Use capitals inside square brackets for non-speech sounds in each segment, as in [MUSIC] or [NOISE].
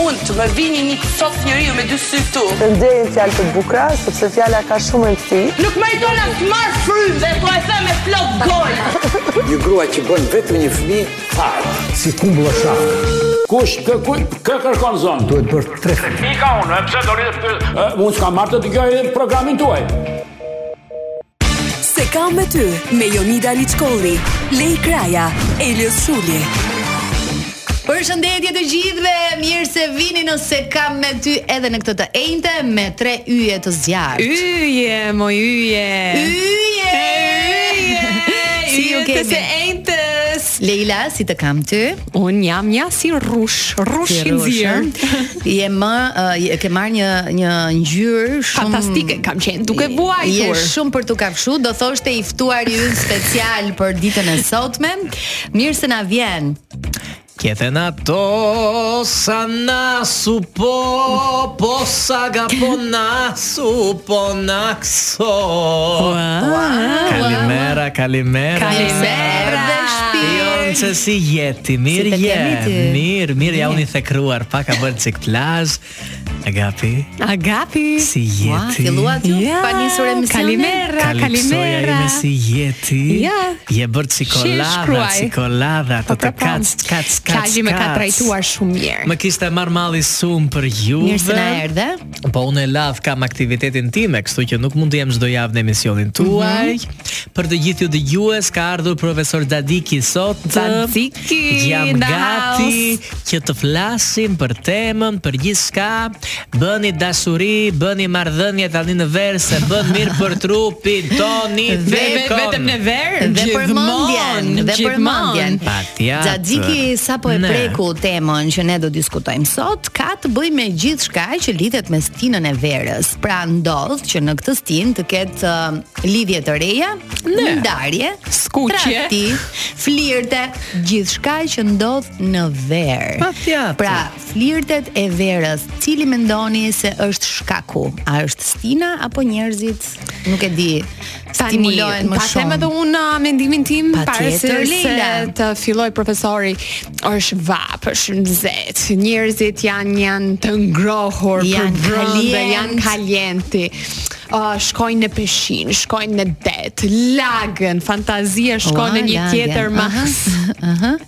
unë të më vini një sot njeriu me dy sy këtu. Të ndjerin fjalë të bukura, sepse fjala ka shumë rëndësi. Nuk më jeton as marr frymë dhe po e them me plot gojë. Një grua që bën vetëm një fëmijë fare. si kumbulla shafë. Kush kë kë, kë kërkon zonë? Duhet bërë tre Pika unë, e pse do rritë për... Unë s'ka marrë të dëgjoj programin tuaj. Se kam me ty me Jonida Liçkolli, Lej Kraja, Elios Shulli. Përshëndetje të gjithëve, mirë se vini nëse kam me ty edhe në këtë të ejnte me tre yje të zjarë. Yje, moj yje. Yje! Si ju Yje të se kemi? ejtës. Leila, si të kam [LAUGHS] ty? Un jam një si rrush, rrush i nxirr. eh? Je më uh, je- ke marrë një një ngjyrë shumë Fantastike kam qenë, duke vuajtur. Je shumë për tu kafshu, do thoshte i ftuari ynë special për ditën e sotme. Mirë se na vjen. Kjethen ato sa nasu po, po sa ga po nasu po nakso. Kalimera, kalimera. Kalimera. Dhe shpirt. Jonë se si jeti, mirë Si të je, kemi ty. mirë, mirë, ja unë i thekruar, pak a bërë cik plazh, agapi, Agapi. si Ua, jeti. fillua ti pa nisur emisionin. Kalimera, Kalipsoja kalimera. ime si jeti Ja. Je bërë cikolada, shkruaj. cikolada Të po të prapam. kac, kac, kac, kac Kalli më ka trajtuar shumë mirë. Më kishte marrë malli sum për juve. Mirë se na erdhe. Po unë e ladh kam aktivitetin tim, e kështu që nuk mund të jem çdo javë në emisionin tuaj. Mhm. Për të gjithë ju dëgjues ka ardhur profesor Dadiki sot. Zadiki, Jam in the gati që të flasim për temën, për gjithçka. Bëni dashuri, bëni marrëdhënie tani në verë se bën mirë për trupin toni Ve- ve- vekon. vetëm në verë, Dhe për gjithmonë, mendjen, dhe për gjithmonë. mendjen. Patjetër. Xhaxhiki sapo po e Ne. preku temën që ne do diskutojmë sot, ka të bëjë me gjithçka që lidhet me stinën e verës. Pra ndodh që në këtë stinë të ketë ë, lidhje të reja, ndarje, Skuqje. trakti, flirte, gjithçka që ndodh në verë. Patjetër. Pra, flirtet e verës, cili mendoni se është shkaku? A është stina apo njerëzit? Nuk e di. Tani, Stimulohen më pa shumë. them edhe unë uh, mendimin tim Pa para se, tjetër, se Leila. të filloj profesori është vap, është nxet. Njerëzit janë janë të ngrohur Janë për brëndë, kalient. janë kalienti. Uh, shkojnë në pishin, shkojnë në det, lagën, fantazia Ua, shkon në një lagën, tjetër aha. mas.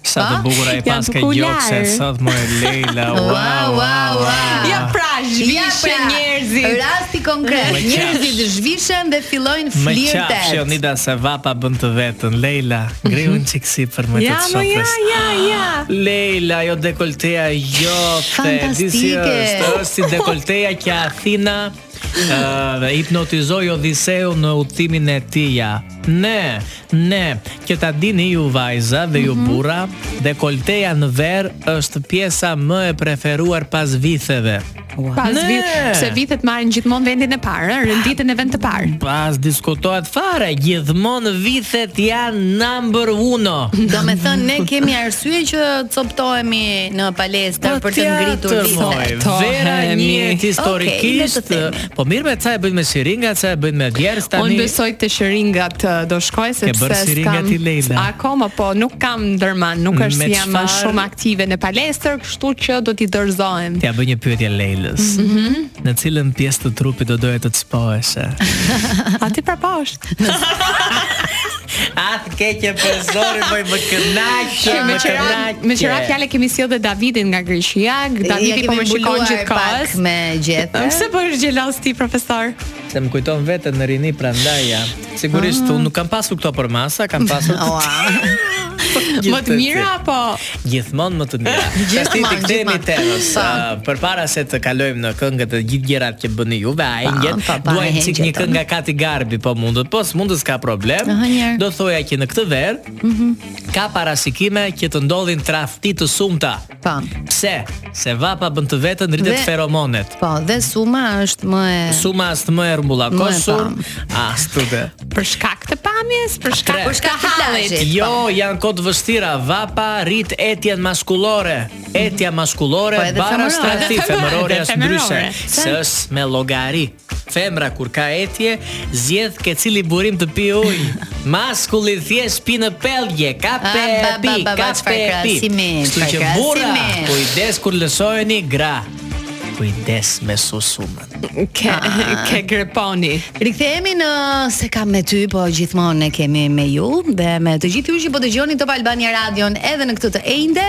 Sa të bukur e Ja, pas ka bukular. gjokse sot më [LAUGHS] Leila. Ua, Wow, ua, wow, ua. wow. Ja [LAUGHS] pra, zhvishe pra, njerëzit. Rasti konkret, Me qafsh. njerëzit zhvishen dhe fillojnë Më qafë që flirtet. Jonida se vapa bën të vetën Leila, ngri unë qikësi për më të Mhm. Ja, të më ja, shofës ja, ja. Leila, jo dekolteja jote di si Fantastike. është, është si dekolteja që Athina ë, Dhe hipnotizoi Odiseu në udhimin e tija Ne, ne, që ta dini ju vajza dhe ju burra Dekolteja në verë është pjesa më e preferuar pas vitheve Pas Ne. vit, se vitet marrin gjithmonë vendin e parë, ëh, renditën e vend të parë. Pas diskutohet fare, gjithmonë vithet janë number uno Do me thënë, ne kemi arsye që coptohemi në palestër Po për të ngritur vitet. vitet. Vera Tohemi. njëhet historikisht. Okej, le të po mirë me ca e bëjnë me siringa, ca e bëjnë me djerës Unë tani. besoj të shëringat ë, uh, do shkoj sepse bërë shëringat i Leila. Akoma po, nuk kam ndërmend, nuk është Me se jam uh, çfarë- shumë aktive në palestër, kështu që do t'i dorëzohem. [LAUGHS] T'ja bëj një pyetje Leilës. Mhm. Në cilën pjesë të trupit do doje të të [LAUGHS] spoheshe? Aty prapa është. Atë keqe për zori, bëj më kënaqë, Që me qëra, me qëra fjale kemi sjell dhe Davidin nga Greqia, Ja Davidi po kemi më shikon mbuluar pak gjithkohës. me gjethe. Pse po është gjelos ti profesor? Se më kujton vetën në rini prandaj ja. Sigurisht Ah. unë nuk kam pasur këto për masa, kam [LAUGHS] pasur të Më të mira apo Gjithmonë më të [LAUGHS] mira. Gjithmonë ti kthehemi gjithmonë. temës. Pa. ë, Përpara se të kalojmë në këngët të gjithë gjërat që bëni juve, ai ngjet pa, pa, duajmë e sik hengjetëm. një këngë nga Kati Garbi, po mundet, po s'mundet s'ka problem. Aha, Mhm. njerë. Do thoja që në këtë verë ka parashikime që të ndodhin tradhti të sumta. Po. Pse? Se vapa bën të vetën rritet Dhe- feromonet. Po, dhe suma është më e Suma as të më e rrumbullakosur, Më as të dhe. për shkak të pamjes, për shkak Tre. Për shkak të plazhit. Jo, janë kod vështira, vapa rrit etjen maskullore. Etja maskullore Po edhe bara femërore. strati Edhe femërore, femërore është femërore. ndryshe, Sa- se është me llogari. Femra kur ka etje, zgjedh ke cili burim të pi [LAUGHS] ujë. Maskulli thjesht pi në pelgje, ka Ah, pe ba, pi, ba, ba, ka ba, çfarë pe pi. krahasimi, Kështu çfarë që burra, krahasimi. kujdes kur lësojeni gra. Kujdes me susumën. Ke ke greponi. Rikthehemi në se kam me ty, po gjithmonë ne kemi me ju dhe me të gjithë ju që po dëgjoni Top Albania Radion edhe në këtë të ende.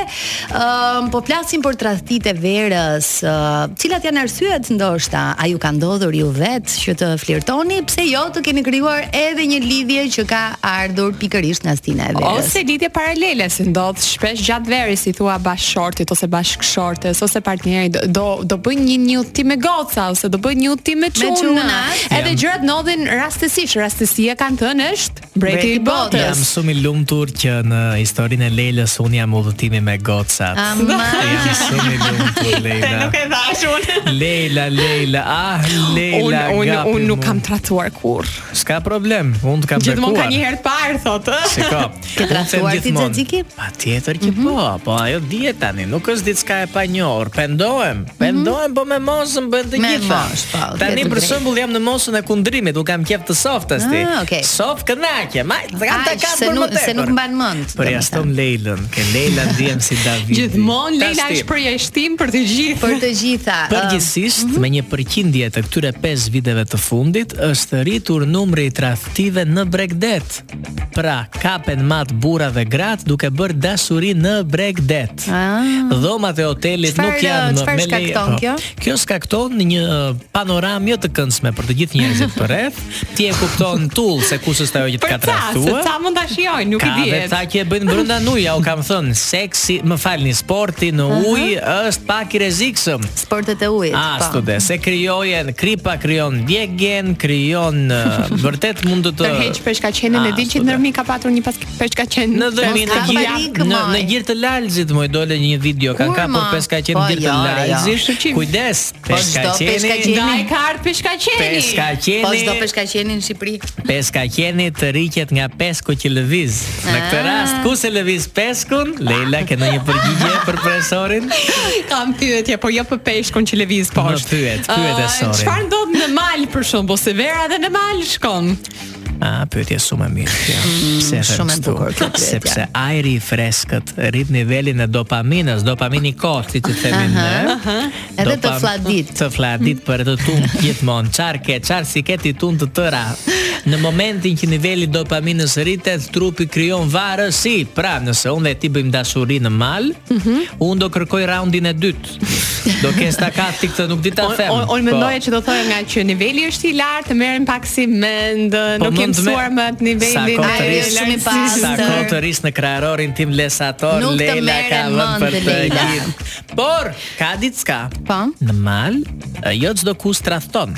Ëm po flasim për tradhtitë e verës, ë, cilat janë arsyet ndoshta a ju ka ndodhur ju vetë që të flirtoni, pse jo të keni krijuar edhe një lidhje që ka ardhur pikërisht nga stina e verës. Ose lidhje paralele si ndodh shpesh gjatë verës si thua bashkëshortit ose bashkëshortes ose partneri do do, do bën një një udhtim me goca ose do bën një udhtim me çuna. çunat. Edhe gjërat ndodhin rastësisht, rastësia kanë thënë është breti i Jam botës. shumë i lumtur që në historinë e Lelës unë jam udhëtimi me gocat. Jam Ama shumë [LAUGHS] i lumtur Leila. e thash unë. Leila, Leila, ah, Unë Leila. unë gapi unë nuk mu. kam tratuar kurrë. S'ka problem, unë të kam Gjithmonë ka bekuar. një herë të parë thotë. [LAUGHS] ë? Shiko, Ke unë them trahtuar ti gjithmonë, Xhaxhiki? Pa tjetër që Mhm. po, po ajo dihet tani, nuk është diçka e panjohur. Pendohem, Mhm. pendohem, po me mosën bën të Me gjitha. mosh, po, tani tjetër për drejt. shembull jam në mosën e kundrimit, u kam qef të softës ti. Ah, okay. Soft kënaqje, ma kam ta Aq, kam se për nuk më se nuk tepër. mban mend. Për jashtëm Leilën, ke Leila ndiem si Davidi. Gjithmonë Leila Tastim. është përjashtim për të gjithë. për të gjitha. ë, Përgjithsisht, mhm. me një përqindje të këtyre 5 viteve të fundit, është rritur numri i tradhtive në Bregdet. Pra, kapen mat burra dhe gratë duke bërë dashuri në Bregdet. Ah. mhm. Dhomat e hotelit Çfarë, nuk janë çfarë me leje- shkakton po. kjo? Kjo shkakton një uh, panoramë jo të këndshme për të gjithë njerëzit përreth. Ti e kupton tull se kush është ajo që të Për ka ca, se tradhtuar. ca mund ta shijoj, nuk i Ka dhe dihet. ta që e bëjnë brenda nuja, u kam thënë, seksi, më falni, sporti në ujë është pak i rrezikshëm. sportet e ujit. A, po. Ah, stude, se krijojen, kripa krijon djegjen, [LAUGHS] krijon eh, vërtet mund të të Tërheq peshkaqenin Ah, e din që stude. nërmi ka patur një pas peshkaqen. Në dërmin Mos e ka gjirë, panikë, në, moj. në gjirë të lalzit, moj dole një video, ka Kur, ka për ma? peshkaqen Po, gjirë të jo, re, jo. lalzit, Shqipërim. kujdes, Po, çdo peshkaqeni, peshkaqeni. Nga e ka ardhë peshkaqeni. Po çdo peshkaqeni, peshkaqeni në Shqipëri. peshkaqeni të riqet nga pesku që lëviz. Në këtë Ah. rast, ku se lëviz peskun, Leila, ke në një përgjigje për profesorin? Kam pyetje, por jo për peshkun që lëviz poshtë. pyet, pyet e Ah, sorin. Çfarë ndodh në mal për shemb, ose vera dhe në mal shkon? A, pyetje shumë e mirë kjo. Pse e them Mm, shumë e kështu? bukur kjo pyetje. Sepse ajri i freskët rrit nivelin e dopaminës, dopamini kot, si ti themi ne. Edhe të Dopam- fladit. Të fladit për të [LAUGHS] tund gjithmonë. Çfarë ke, çfarë si ke ti tund të tëra. Në momentin që niveli i dopaminës rritet, trupi krijon varësi. Pra, nëse unë dhe ti bëjmë dashuri në mal, Mhm. unë do kërkoj raundin e dytë. Do kesh takat ti këtë nuk di ta Unë them. un, po. mendoja që do thoya nga që niveli është i lartë, merren pak si mend, Po nuk jam mend me- mësuar më atë nivelin. Sa Ajri është shumë i Sa pastër. kohë të rrisë në krarorin tim lesator Nuk të Leila ka merren vënë për mend, të Leila. gjithë Por, ka diçka Po. Në mal, e, jo çdo kus tradhton.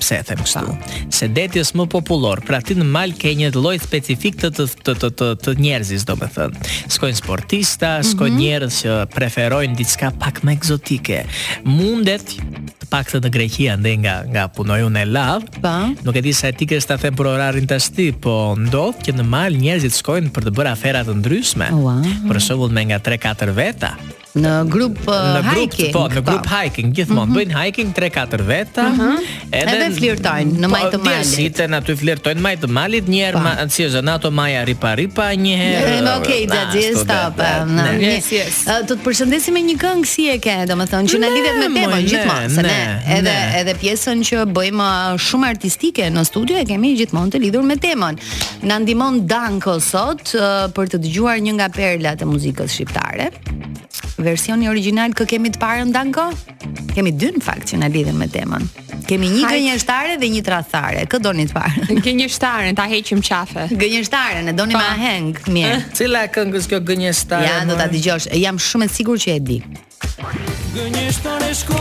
Pse e them Po. kështu? Se deti është më popullor. Pra ti në mal ke një lloj specifik të të të të, të, të njerëzis, domethënë. Shkojnë sportista, shkojnë Mhm. njerëz që preferojnë diçka pak më egzotike. Mundet të paktën në Greqi andej nga nga punoj unë e lav. Po. Nuk e di sa etike është ta them për orarin tash ti, po ndodh që në mal njerëzit shkojnë për të bërë afera të ndryshme. Ua. Për shembull me nga 3-4 veta Në grup në uh, grup, hiking. Mhm. po, në grup hiking gjithmonë bëjnë hiking 3-4 veta. Edhe flirtojnë në majtë të malit. Djersiten aty flirtojnë në majtë të malit, një herë Po. ma, si është nato maja ripa ripa, një herë. Ah, Okej, okay, na, xhaxhi, s'to stop. dhe, eh, ne. na, ne- Yes, yes. Eh, Do të përshëndesim me një këngë si e ke, domethënë që na Ne, lidhet me temën moj, ne, gjithmonë, se ne ne, edhe ne. edhe pjesën që bëjmë eh, shumë artistike në studio e kemi gjithmonë të lidhur me temën. Na ndihmon Danko sot eh, për të dëgjuar një nga perlat e muzikës shqiptare. Versioni origjinal kë kemi të parën Danko? Kemi dy në fakt që na lidhen me temën. Kemi një Hajt. gënjeshtare dhe një tradhtare. Kë doni të [LAUGHS] parë? Ke një shtarën, ta heqim qafe. Gënjeshtaren e doni me Pa. aheng, [LAUGHS] mirë. Cila e këngës kjo gënjeshtare? Ja, do ta moj? dëgjosh. Jam shumë e sigurt që e di.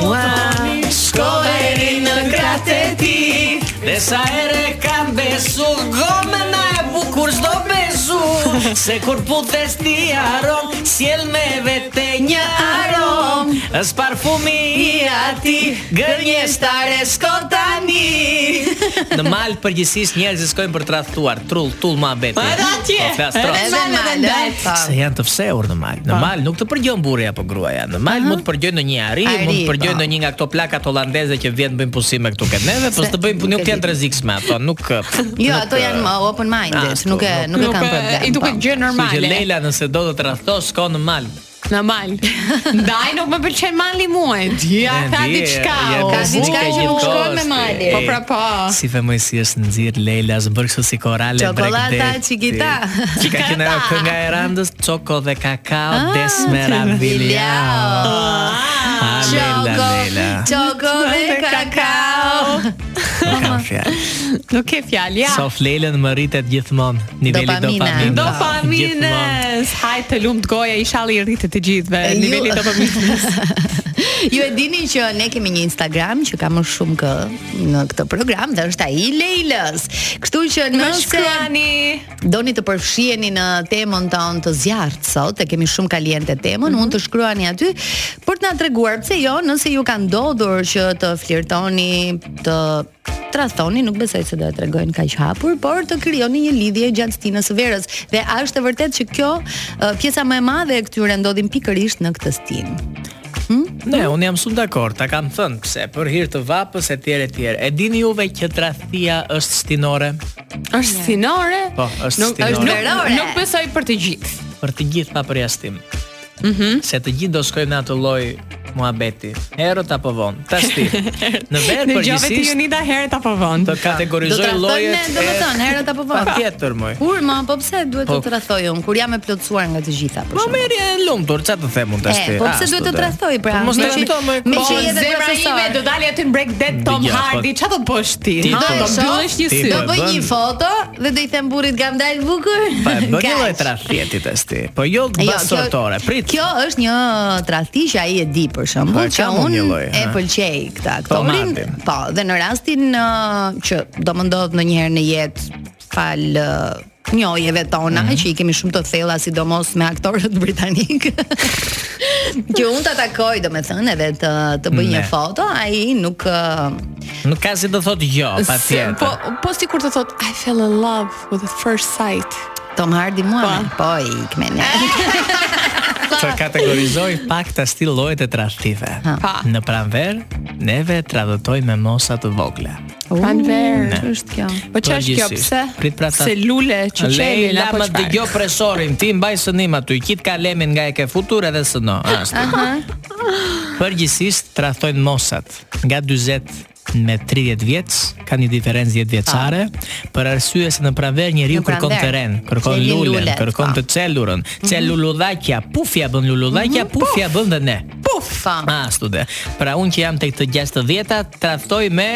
Ua, shkove ri në gratë e ti Dhe sa ere kam besu Gomena e bukur s'do besu Se kur putes ti arom Sjell me vete një aromËs parfumi i ati Gënje stare s'ko tani Në malë përgjësisht njerëzit skojnë për të rathtuar Trull, tull ma beti Edhe atje. Po, flas trull. Edhe Po. malet. Se janë të fsehur në mal. Në mal nuk të përgjon burri apo gruaja. Në mal mund të përgjoj në një ari, Ari, mund të përgjoj po. në një nga këto plakat holandeze që vjen bëjnë pusime këtu këtë neve, po Se- s'të bëjnë nuk e nuk janë di. të rrezikshme ato, nuk [LAUGHS] Jo, ato janë më open minded, ashtu, nuk e nuk e Nuk kam e- problem. I duket po. gjë Normale. eh, Që normale. Leila nëse do të të rathos s'ka në mal. [LAUGHS] Normal. Ndaj nuk më pëlqen mali mua. Dia E, ka di, diçka. e, o, ka diçka bu. që nuk shkon me mali. Po pra po. Si femoj si është nxirr Leila as bërë kështu si korale Çokolata, breakdance. çikita. Ti ka qenë ajo kënga e Randës, çoko dhe kakao Ah, desmera Biljao. biljao. Ah, Leila, Çoko, Leila. çoko dhe [LAUGHS] kakao. Nuk kam fjalë. Nuk ke fjalë, ja. Sof Lelen më rritet gjithmonë niveli Dopamina. dopamine. Gjithmonë. Dopamines. Hajtë të lumt goja, inshallah i rritet të po gjithëve. E, ju- Niveli [LAUGHS] dopaminës. Ju e dini që ne kemi një Instagram që ka më shumë kë në këtë program dhe është ai i Leilës. Kështu që Më nëse shkruani. doni të përfshiheni në temën tonë të zjarrit sot, e kemi shumë kaliente temën, mund të shkruani aty për të na treguar pse jo, nëse ju ka ndodhur që të flirtoni, të tradhtoni, nuk besoj se do e tregojnë kaq hapur, por të krijoni një lidhje gjatë stinës së verës. Dhe a është e vërtetë që kjo ë, pjesa më e madhe e këtyre ndodhin pikërisht në këtë stinë? Ne, Ναι, unë jam shumë dakord, ta kam thënë pse, për hir të vapës e tjerë e tjerë. E dini juve që tradhtia është stinore Është sinore. Po, është Nuk- stinore. nuk- Verore. Nuk besoj për të gjithë. për të gjithë pa përjashtim. Mhm. Se të gjithë do shkojmë në atë lloj muhabeti, herët apo vonë. Tash [LAUGHS] ti. Në verë Dëgjove ti përgjithsisht Jonida herët apo vonë? të e Do të kategorizoj rrethojnë ne, llojet. e domethënë, herët apo vonë. Patjetër moj. Kur ma, po pse duhet Po. të tradhtoj unë kur jam e plotësuar nga të gjitha për Po shembull? merje e lumtur, çfarë të them unë tash ti? E, po pse ashtu duhet të do. tradhtoj pra? Po mos Me të që- tradhtoj. me po, që je dhe zemra profesor. ime do dali aty në break dead Tom Dëgjoj, po- Hardy. Çfarti do të bësh ti? Ti Ha, po- do e shoh, mbyllesh një ti sy. po Do e bëj bën- një foto dhe do i them burrit kam dalë bukur. [LAUGHS] Po e bën një Kaq. lloj tradhjeti tash ti. Po Jo, jo basortore. Prit. Kjo është një tradhti që ai e di për Po, shembull e që kam unë unë një lloj, e ha. pëlqej këtë aktorin. marrim. Po, dhe në rastin ë, që do më ndodh ndonjëherë në jetë fal ë, njohjeve tona Mhm. që i kemi shumë të thella sidomos me aktorët [LAUGHS] britanik. që unë ta takoj domethënë edhe të të bëj një Ne. foto, ai nuk ë, Nuk ka si të thotë jo, patjetër. Po po sikur të thot I fell in love with the first sight. Tom Hardy mua. me- Po, ikme ne. Eh, të kategorizoj [LAUGHS] pak të stil llojet e tradhtive. Pa. Në pranver, neve tradhtoj me mosa të vogla. Pranver. Është kjo. Po ç'është kjo Përgjithsisht. pse? Prit pra ta- Se lule, çuçelin Leila, po apo ma çfarë? dëgjoj presorin, ti mbaj sënim aty, qit kalemin nga e ke futur edhe sëno. Ashtu. Përgjithsisht tradhtojnë mosat nga 40 me 30 vjeç, ka një diferencë 10 vjeçare, për arsye se në pranverë njeriu Ah. Në kërkon pranverë. terren, kërkon Qelin lulen, lulet, kërkon po. Mhm, të celurën, celuludhakja, pufja bën luludhakja, pufja bën dhe ne. Pufa. Ashtu dhe. Pra unë që jam tek të 60-ta, tradhtoj me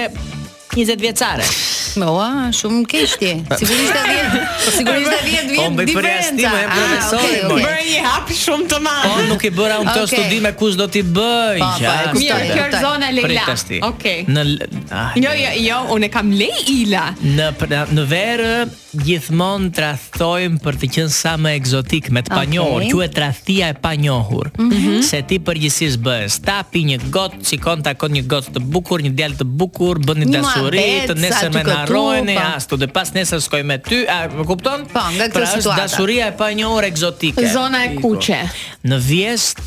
20 vjeçare. Ua, shumë keq ti. Sigurisht e vjen. Sigurisht e vjen Po, vjen më bëj përjashtime, e profesorit, Ah, okay, moj. okay. Bërë një hap shumë të madh. Po nuk i bëra unë këto Okej. studime kush do t'i bëj. Po, po, e ashtu kuptoj, dhe. Mirë, kjo kuptoj. është zona Leila. Prit tash ti. Okej. Në l- ah, Jo, jo, jo, unë e kam Leila. Në pra- në verë gjithmonë tradhtojmë për të qenë sa më egzotik, me të panjohur, Okej. quhet tradhtia e panjohur. Mhm. Se ti përgjithsisht bëhesh tapi një gotë, shikon takon një gotë të bukur, një djalë të bukur, bën një Një dashuri, muhabet, të nesër sa me ti këtu, narrohen e po. ashtu, dhe pas nesër skoj me ty, a më kupton? Po, nga kjo pra është situata. dashuria e panjohur egzotike. Zona e kuqe. Në vjesht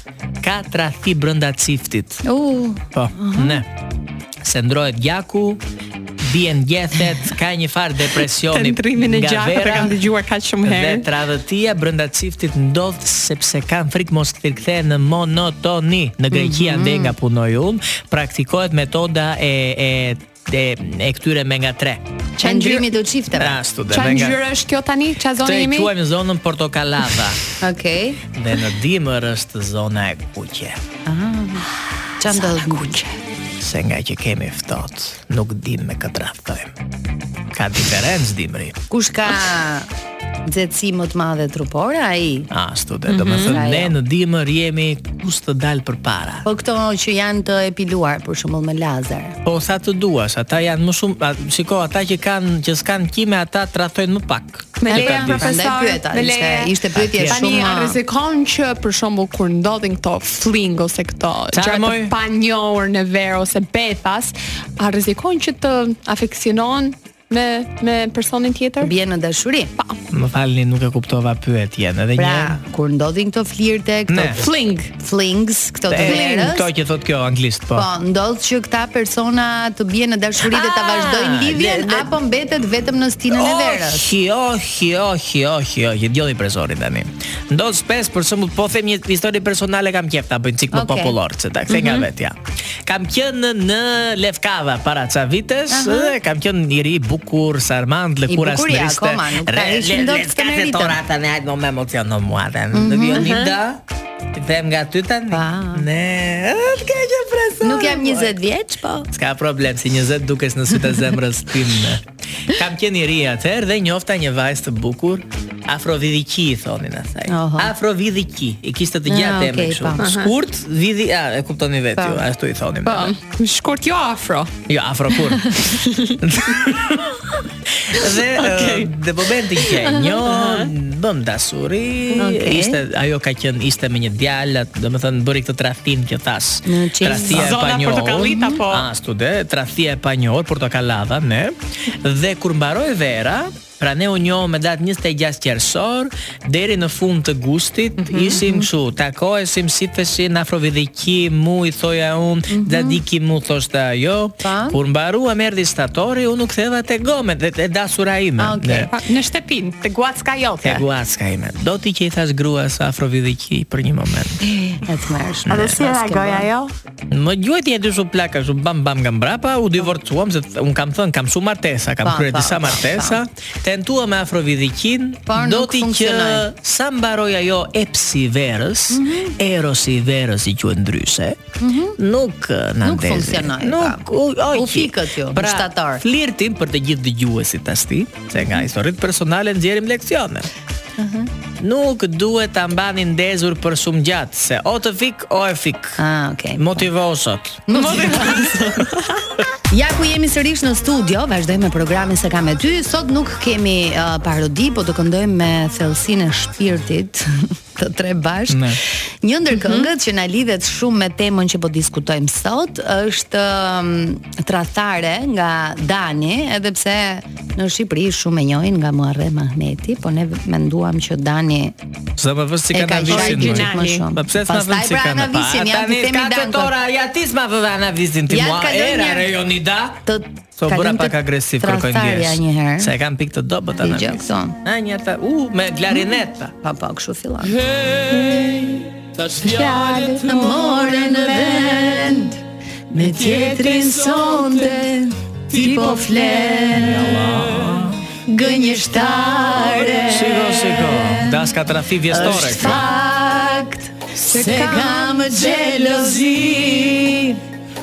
ka tradhti brenda çiftit. U, Po, ne. Se ndrohet gjaku, bien gjethet, ka një farë depresioni Tentrimin e gjakut e kam dëgjuar kaq shumë herë. Dhe tradhtia brenda çiftit ndodh sepse kanë frikë mos të kthehen në monotoni. Në Mhm. Greqi ande nga punoj unë, praktikohet metoda e e e, e këtyre me nga tre. çan ndrymi të çifteve. Ashtu dhe Çfarë me nga ngjyrë është kjo tani? Çfarë Të zonë e jemi? quajmë zonën portokallava Okej. dhe në dimër është zona e kuqe. Çan do kuqe. se nga që kemi ftohtë, nuk dim me këtë raftojmë. Ka diferencë dimri. Kush ka nxehtësi më të madhe trupore, ai Ashtu dhe, do me thënë, Mhm. Ajo. ne në dimër jemi kus të dalë për para. Po këto që janë të epiluar për shembull me lazer. Po sa të duash, ata janë më shumë, a, shiko, ata që kanë që s'kan kime, ata traftojnë më pak. Me Që leja ta dish. profesor, Prandaj pyeta, me ishte- leje. ishte pyetje Atje. Tani shumë- rrezikon që për shembull kur ndodhin këto fling ose këto Çfarë, gjëra moj? të panjohur në verë ose bethas, a rrezikon që të afeksionon me me personin tjetër? Bie në dashuri. Më falni, nuk e kuptova pyetjen, edhe një Pra, kur ndodhin këto flirte, këto Ne. Fling. flings, këto të E, verës, Këto që thot kjo anglisht, po. Po, ndodh që këta persona të bien në dashuri dhe ta Ah, Oh, vazhdojnë lidhjen dhe- dhe- apo mbetet vetëm në stinën e verës. Ohi, ohi, ohi, ohi, ohi, djolli prezorin tani. Ndodh shpesh për shembull, po them një histori personale kam qef ta bëj cik më Okej. popullor, se ta kthe nga vetja. Kam qenë në Lefkava para ca vitesh, dhe kam qenë njëri i bukur, sarmand, lëkura bukur je akoma, nuk ta ishin dot skeneritën. Torata ne hajt më më emociono mua tani. Leonida, them nga ty tani. Pa. Ne, atë ke që preson. Nuk jam 20 vjeç, po. S'ka problem, si 20 dukes në sytë e zemrës tim. Kam qenë i ri atëherë dhe njofta një vajzë të bukur, afrovidhiqi i thonin asaj. Oho. Afrovidhiqi, i kishte të Ah, gjatë emrin okej, kështu. po. Aha. Skurt, vidhi, a e kuptoni vetë ju, Po. ashtu i thonin. Po, shkurt jo afro. Jo, afro [LAUGHS] kur. dhe okay. dhe po bën ti që një bëm dasuri, Okej. ishte ajo ka qenë ishte me një djalë, domethënë bëri këtë tradhtim që thash. Në qenë Tradhtia e zona panjohur. portokallita, po. Ashtu dhe tradhtia e panjohur, portokallava, ne. Dhe kur mbaroi vera, Pra ne u njohëm me datë 26 qershor deri në fund të gushtit, ishim kështu, takoheshim si feshin afrovidhiqi, mu i thoja unë, dadiki mu thoshte ajo. Pa. Kur mbaruam erdhi shtatori, unë u ktheva te gomet dhe te dasura ime. Ah, okej. Ne. Pa, Në shtëpin, te guacka jote. Te guaska ime. Do ti që i thash gruas afrovidhiqi për një moment. E të mërshme. A dhe si jo? reagoi ajo? Më gjuajti e dy shumë plaka, shumë bam bam nga mbrapa, u divorcuam, se th- unë kam thënë, kam shumë martesa, kam Pa, kryer pa, disa martesa, tentua me afrovidhiqin, Por do nuk ti që funksionoi. Mhm. sa mbaroj ajo epsi i verës, erosi i verës i quhet ndryshe, nuk eh, na Nuk ndezi. funksionoi, Nuk, pa. u, U oqi. fikët ju, në pra, shtator. Flirtin për të gjithë dëgjuesit tashti, se Mhm. nga historitë personale nxjerrim leksione nuk duhet ta mbani ndezur për shumë gjatë, se o të fik o e fik. Ah, okay. Motivo sot. Ja ku jemi sërish në studio, vazhdojmë me programin se kam me ty. Sot nuk kemi uh, parodi, po do këndojmë me thellësinë e shpirtit [LAUGHS] të tre bashkë. Ne. Mhm. Një ndër këngët që na lidhet shumë me temën që po diskutojmë sot është um, Trathare nga Dani, edhe pse në Shqipëri shumë e njohin nga Muharrem Ahmeti, po ne menduam që Dani Sa më vës si e ka ka ta visin. qajë gjithë më shumë. Po pse s'na vën Pastaj si pra ka na pa? anavisin, ja, Tani ti themi ka Danko. të tora, ja ti s'ma vë anavisin ti Ja, mua. kalon Era njerë. rejonida. Të So kalon bëra të pak agresiv kërkoj tradhtarja ndjes. një herë. Se e kam pikë të dobët Dëgjoj anavis. këto. Na një ta, u me klarineta. Pa pa, kështu fillon. Tash fjalë të more në vend Me tjetrin sonde Ti po flen Gënjeshtare Shiko, shiko. Das ka trafi vjestore. është fakt Se kam gjelozi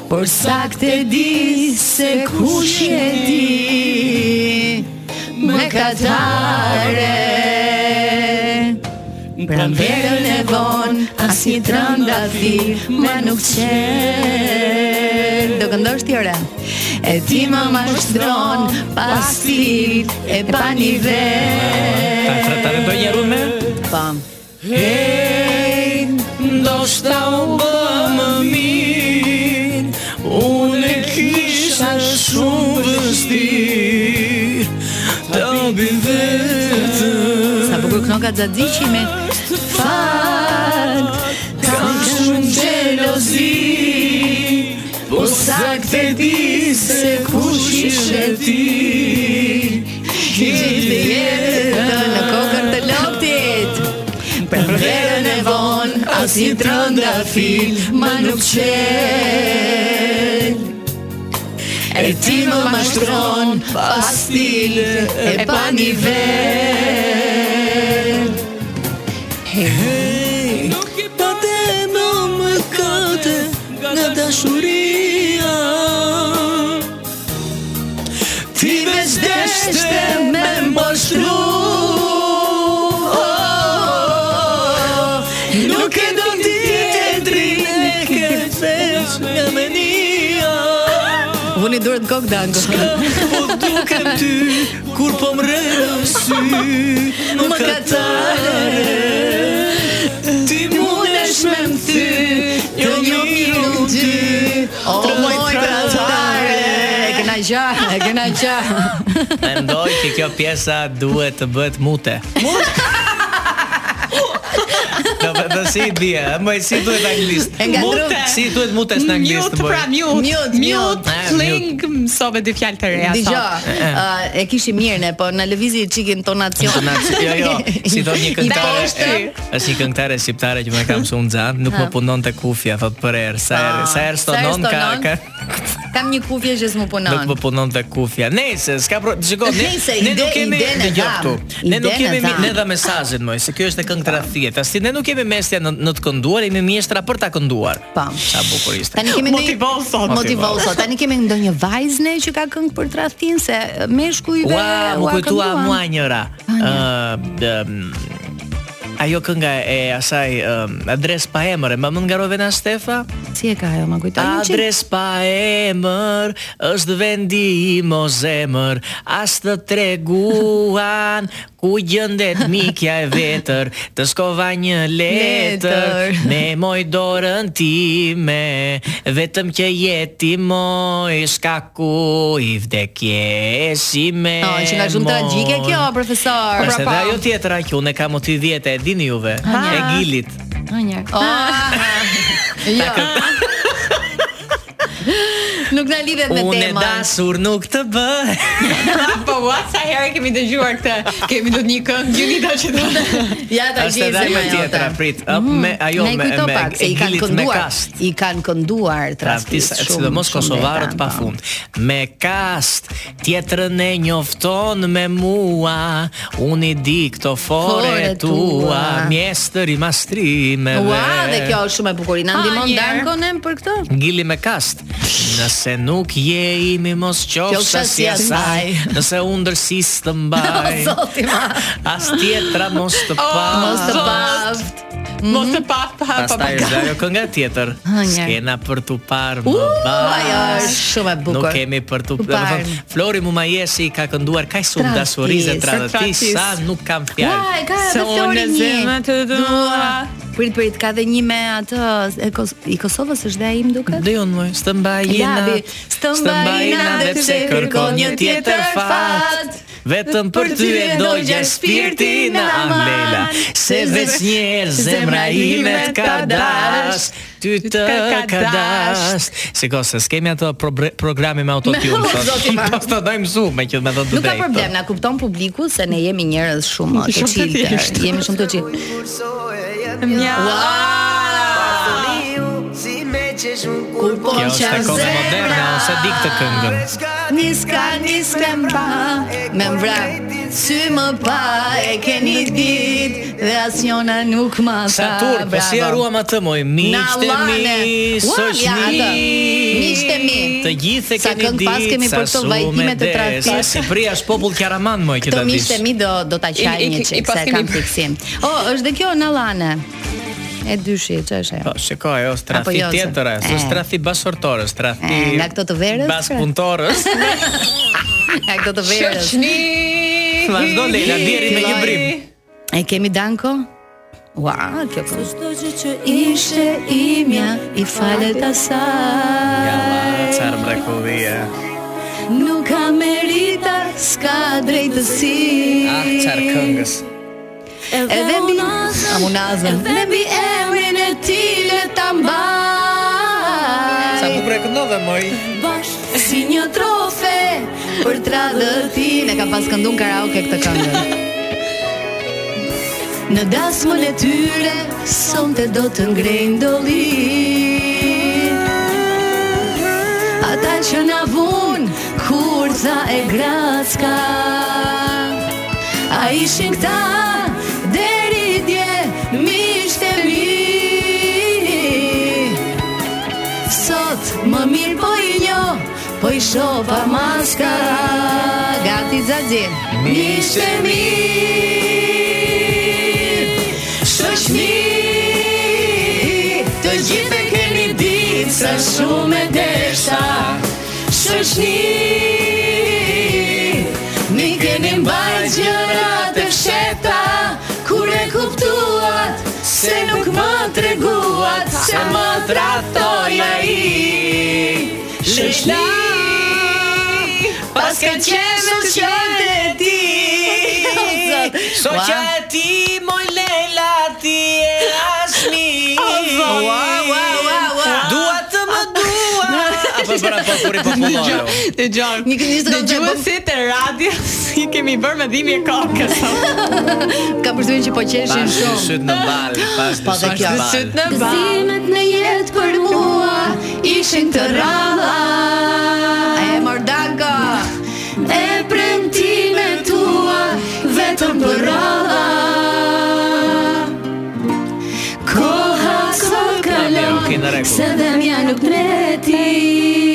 Por sakt e di Se kush je ti Më katare Pranverën e vonë, asnjë trënda thi, më nuk qenë. Do këndosh ti ora. E ti më mashtron, pas ti e pa një Ta ta ta do një me. Pam. Hej, ndoshta u bë më mirë Unë e kisha shumë vështirë Të bi vetëm Sa bukur knoka Xhaxhiçi me fakt. Kam shumë xhelozi. Po saktë di se kush ishe ti. Ki gjithë jetën në kokën të loptit. Për verën e vonë, as një trënda fil, ma nuk qenë. E ti më mashtron, pas stil, e pa nivel. Hej, pa te në më kate Nga dashuria Ti veç deshte me më shkru е nga menia Vuni duhet kokë dango. Po dukem ty kur po mrejnë sy Më katare Ti mundesh me më thy Jo një miru ty O moj tratare Kena gjahë, kena gjahë. Mendoj që kjo pjesa duhet të bëhet mute. Do të do si bie, më si duhet anglisht. E ngadrova. Mute, si duhet mutes në anglisht Mute, boj. pra mute. Mute, mute. Eh, Kling, mësove dy fjalë të reja. Dgjoj, sot. ë, Eh, e kishim mirë ne, po na lëvizi çik intonacion. Intonaci- Jo, [LAUGHS] jo, si do një këngëtare. I Eh. poshtë. e, Është një këngëtare shqiptare që më ka mësuar nxan, nuk më punon te kufja, thot për erë, sa herë, Ah, sa sa herë herë stonon ka stonon? ka Kam një kufje që s'mu punon. Nuk po punon te kufja. Nëse s'ka pro, shiko, ne Nëse, ne ide- nuk kemi ide në dëgjoj dham. këtu. Ne nuk Ide kemi në mi- ne dham. dha mesazhin moj, se kjo është e këngë tradhjet. As ne nuk kemi mestja në, në të kënduar, jemi mjeshtra për ta kënduar. Po. Sa bukur ishte. Tani kemi ndonjë- Motivon sot. Motivon sot. Tani kemi ndonjë vajzë ne që ka këngë për tradhtin se meshkujve Ua, më kujtua kënduan. mua njëra. Ë, ëm, ajo kënga e asaj ëm, adres pa emër, e më mund ngarove na Stefa? Si e ka ajo, më kujtoj. një çik. Adres pa emër, është vendi i mozemër, as të treguan, ku gjëndet mikja e vetër, të skova një letër, Letër. [LAUGHS] me moj dorën time, vetëm që jeti moj, s'ka ku i vdekje si me Oh, që nga shumë moj. tragjike kjo, profesor. Pra Është edhe ajo tjetra që unë e kam o ty vjetë, e dini juve, e gilit. Ah. [LAUGHS] Jo. [LAUGHS] Nuk na lidhet me Unë e temën. [LAUGHS] dasur nuk të bëj. Po ua, sa herë kemi dëgjuar këtë. Kemi do të një këngë Gjulita që thotë. [LAUGHS] Ja ta Është edhe gjej ajo zemra tjetra, jote. prit. Ëp, me ajo Ne me kujto me pak se e i kanë gilit me kënduar, kast. i kanë kënduar Traftis, tradhtis. sidomos kosovarët po. pa fund. Me kast, tjetrën e njofton me mua, unë i di këto fore Fore tua. tua, mjestër i mastrimeve. Ua, dhe kjo është shumë e bukur. I Na Ah, ndihmon [LAUGHS] njerë. Dankonen për këtë? Gili me kast Nëse nuk je imi mos qofsa Qofsha si si asaj asaj. Nëse undër si së të [LAUGHS] mbaj O zoti ma. As tjetra mos [LAUGHS] të pa Oh, Mos të paft. Mos të pa pa pa. Pastaj është ajo kënga tjetër. Ha, njerë. Skena për tu parë më bashkë. Ajo është shumë e bukur. Nuk kemi për tu Tu parë. parë. Flori Mumajesi ka kënduar kaq shumë Tradhtis. dashurizë tradhti Tradhtis. sa nuk kam Ua, e fjalë. ka Se edhe Flori unë një. zemë të dua. Prit, prit, ka dhe një me atë e Kos i Kosovës është dhe ai më duket. Dhe unë më, së të mbajina Labi, s'të mbajina, mbajina, dhe pse kërkon një tjetër fat Vetëm për ty e dojgja shpirtin në amlela Se veç njerë zemra ime t'ka dash Ty të ka dash Shiko, se s'kemi ato probre- programe me [LAUGHS] autotune Me- sot. Zoti ma. Pas të dojmë su, me që me dhëtë Nuk ka problem, na kupton publiku se ne jemi njerëz shumë të Shumë të chilltë. thjeshtë. Jemi shumë të chilltë. Mja. Kur po Kjo është e kohë moderne, ose di këtë këngën Niska, niska mba Me mbra Sy më pa e keni dit Dhe asnjona nuk ma tha Satur, po si e Bravo. ruam atë moj miqtë Na mi, llane. Ua, ja, shoqni. atë. Miqtë mi. Të gjithë e Sa keni këngë ditë. pas kemi për këto vajtime të tradhtis. Sa Shqipëria është popull karaman moj që Këto ta dish. miqtë e mi do do ta qaj I- i- një i- çik i pas se kemi- kam fiksim. Oh, është dhe kjo Nallane. E dyshi, ç'është [LAUGHS] ajo? Po, shiko, ajo është trafi jo, se- tjetër, ajo e. është trafi basortorës, trafi E, nga këto të verës, Bas pra. [LAUGHS] punëtorës. [LAUGHS] Ja këto të verës. Shoqni. Vazhdo Leila deri me një brim. E kemi Danko? Ua, kjo po. këngë. Çdo gjë që ishte imja, i falet asaj. Ja, çfarë mrekullie. Nuk ka merita, s'ka drejtësi Ah, çfarë këngës. Edhe Ah, mbi amunazën Edhe mbi emrin e ti le ta Sa mbaj po prekëndove moj. Si një trofe për tradhëtin E ka pas këndun karaoke këtë këngë Në dasmën e tyre Sonte do të ngrejnë dollit Ata që na vun Kur tha e gracka A ishin këta Deri dje Mishte mi Sot më mirë po i njo Po i shofa maska Gati zazi Mishte mi Shoqni Të gjithë e keni ditë Sa shumë e desha Shoshni Mi keni mbajt gjërat e fsheta Kur e kuptuat Se nuk më treguat Se më trahtoj a i Shoshni Pas ka qenë shoqja e ti Shoqja e ti Moj Lela ti e asmi Ua, ua, ua, ua. Dua të më dua Apo për apo për po po. ajo. Dëgjoj. Një këngë ishte Dëgjuesit kontra- e radios i kemi bërë me dhimbje kokës. Ka përshtypjen që po qeshin Pas shumë. syt në bal, pas Po, dhe syt kjo. në Syt bal. në ball. Gëzimet në jetë për mua Ishin të ralla E Mordanko. E premtime tua Vetëm për ralla Koha sot Okay, Pra, në kalon rregull. Se dhe mja nuk mreti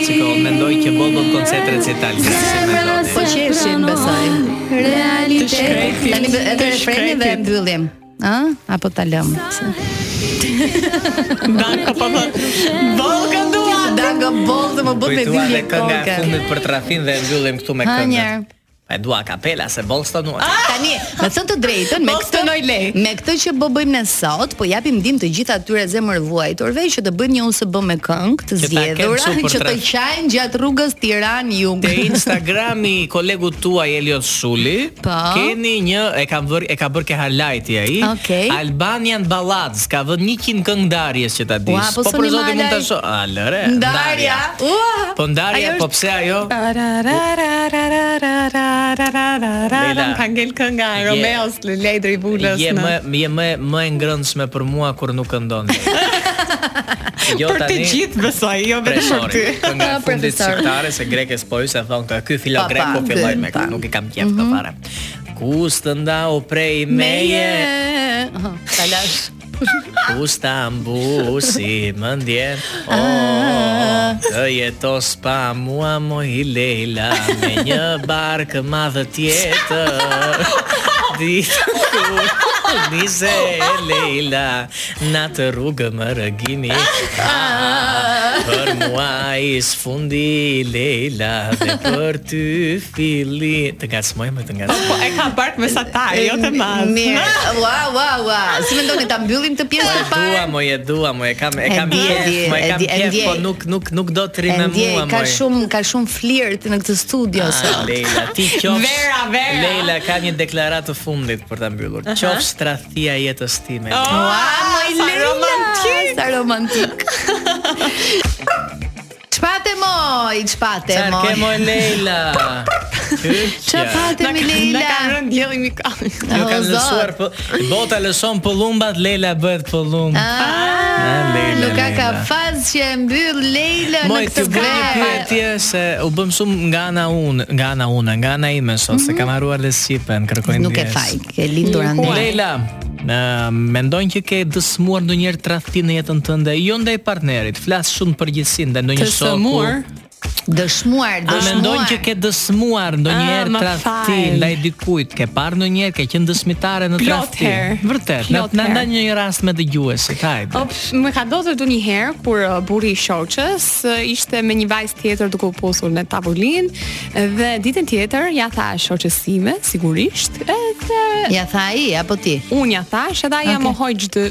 Çiko mendoj që bol bol koncert recital që si mendoj. Po qeshin besoj. Realitet Shkreti. Tani bë- edhe refreni dhe shkretit. mbyllim. Ë? Apo ta lëm. Danko po thot. Volka dua. Dango boll dhe më bën me Kujtua dhimbje Po dhe kënga e kokë. fundit për trafin dhe e mbyllim këtu me Ha, këngën. njerë. E dua kapela se bol stonua. Tani, me thënë të drejtën, me Po këtë stonoj lej. me këtë që bë bëjmë ne sot, po japim ndihmë të gjitha atyre zemër vuajturve që të bëjnë një USB me këngë të Që ta kenë zgjedhura, super që të traf. qajnë gjatë rrugës Tiranë-Jug. [LAUGHS] Te Instagrami i kolegut tuaj Eliot Shuli Po. keni një e ka vërë e ka bërë ke highlight ai. Okej. Albanian Ballads ka vënë 100 këngë ndarjes që ta dish. Ua, po soni për zotin malaj. mund ta shoh. A lëre. Ndarja. Ua! Po ndarja, Ajo po është- pse ajo? Leila. Ka ngel kënga e Je- Romeos le Lejdri Bulës Je më në. je më më e ngrëndshme për mua kur nuk këndon. jo Për të gjithë besoj, jo vetëm për ty. Preshori, kënga e Ah, fundit profesor. shqiptare se grekes po ju se thon ka ky filo Pa, grek pa, po filloj dy, me pa. këtë, nuk i kam qef këtë fare. Ku stëndau prej meje, Aha, Ta lash. ku stambu si më ndjen. Oh, të jetos pa mua moj Leila me një barkë madhe tjetër. Ditë kur Nise e Leila Na të rrugë më rëgimi Ah, Për mua i sfundi Leila Dhe për ty fili Të nga smoj me të nga Po e ka bark mesatar, jo të madh. Mirë. Ua, ua, ua. Si mendoni ta mbyllim këtë pjesë të Dua parë? mo e dua mo e kam e E kam di, e pjef, di, mo e e kam di, e pjef, ndjej. po nuk nuk nuk do të rinë E me ndjej, mua ka moj. shumë ka shumë flirt në këtë studio Ah, sot. Leila, ti qofsh Vera, Vera. Leila ka një deklaratë të fundit për ta mbyllur. Qofsh tradhia e jetës time. Ua, moj sa Leila, romantik. sa [LAUGHS] romantik. Çpate moj, çpate Çfarë ke moj. moj Leila? Çfarë Çpate mi Na Leila. ka rënë dielli mi ka. Jo O, kanë Oh, Zot. lësuar po bota lëson pëllumbat, Leila bëhet pëllum. Ah, Leila, Luka ka Leila. fazë që e mbyll Leila në Moj këtë të bëj një pyetje se u bëm shumë nga ana unë, nga ana unë, nga ana ime sot, se Mhm. kam harruar leshipen, kërkoj ndjes. Nuk e faj, ke lindur andej. Leila, në, mendojnë që ke dësmuar ndonjëherë tradhti në jetën tënde, jo ndaj partnerit, flas shumë përgjithsinë ndaj Të ndonjë shoku. sëmur. Dëshmuar, A dëshmuar. mendojnë që ke dësmuar Ah, ndonjëherë më tradhti fal. ndaj dikujt, ke parë ndonjëherë ke qenë dësmitare në Plot tradhti? herë. Vërtet, na Plot na herë. ndan një rast me dëgjuesit, hajde. Op, më ka ndodhur du një herë kur uh, burri i shoqës uh, ishte me një vajzë tjetër duke u posur në tavolinë dhe ditën tjetër ja tha shoqës time sigurisht edhe Ja tha ai apo ti? unë ja thash edhe ai ja Okay. mohoi çdo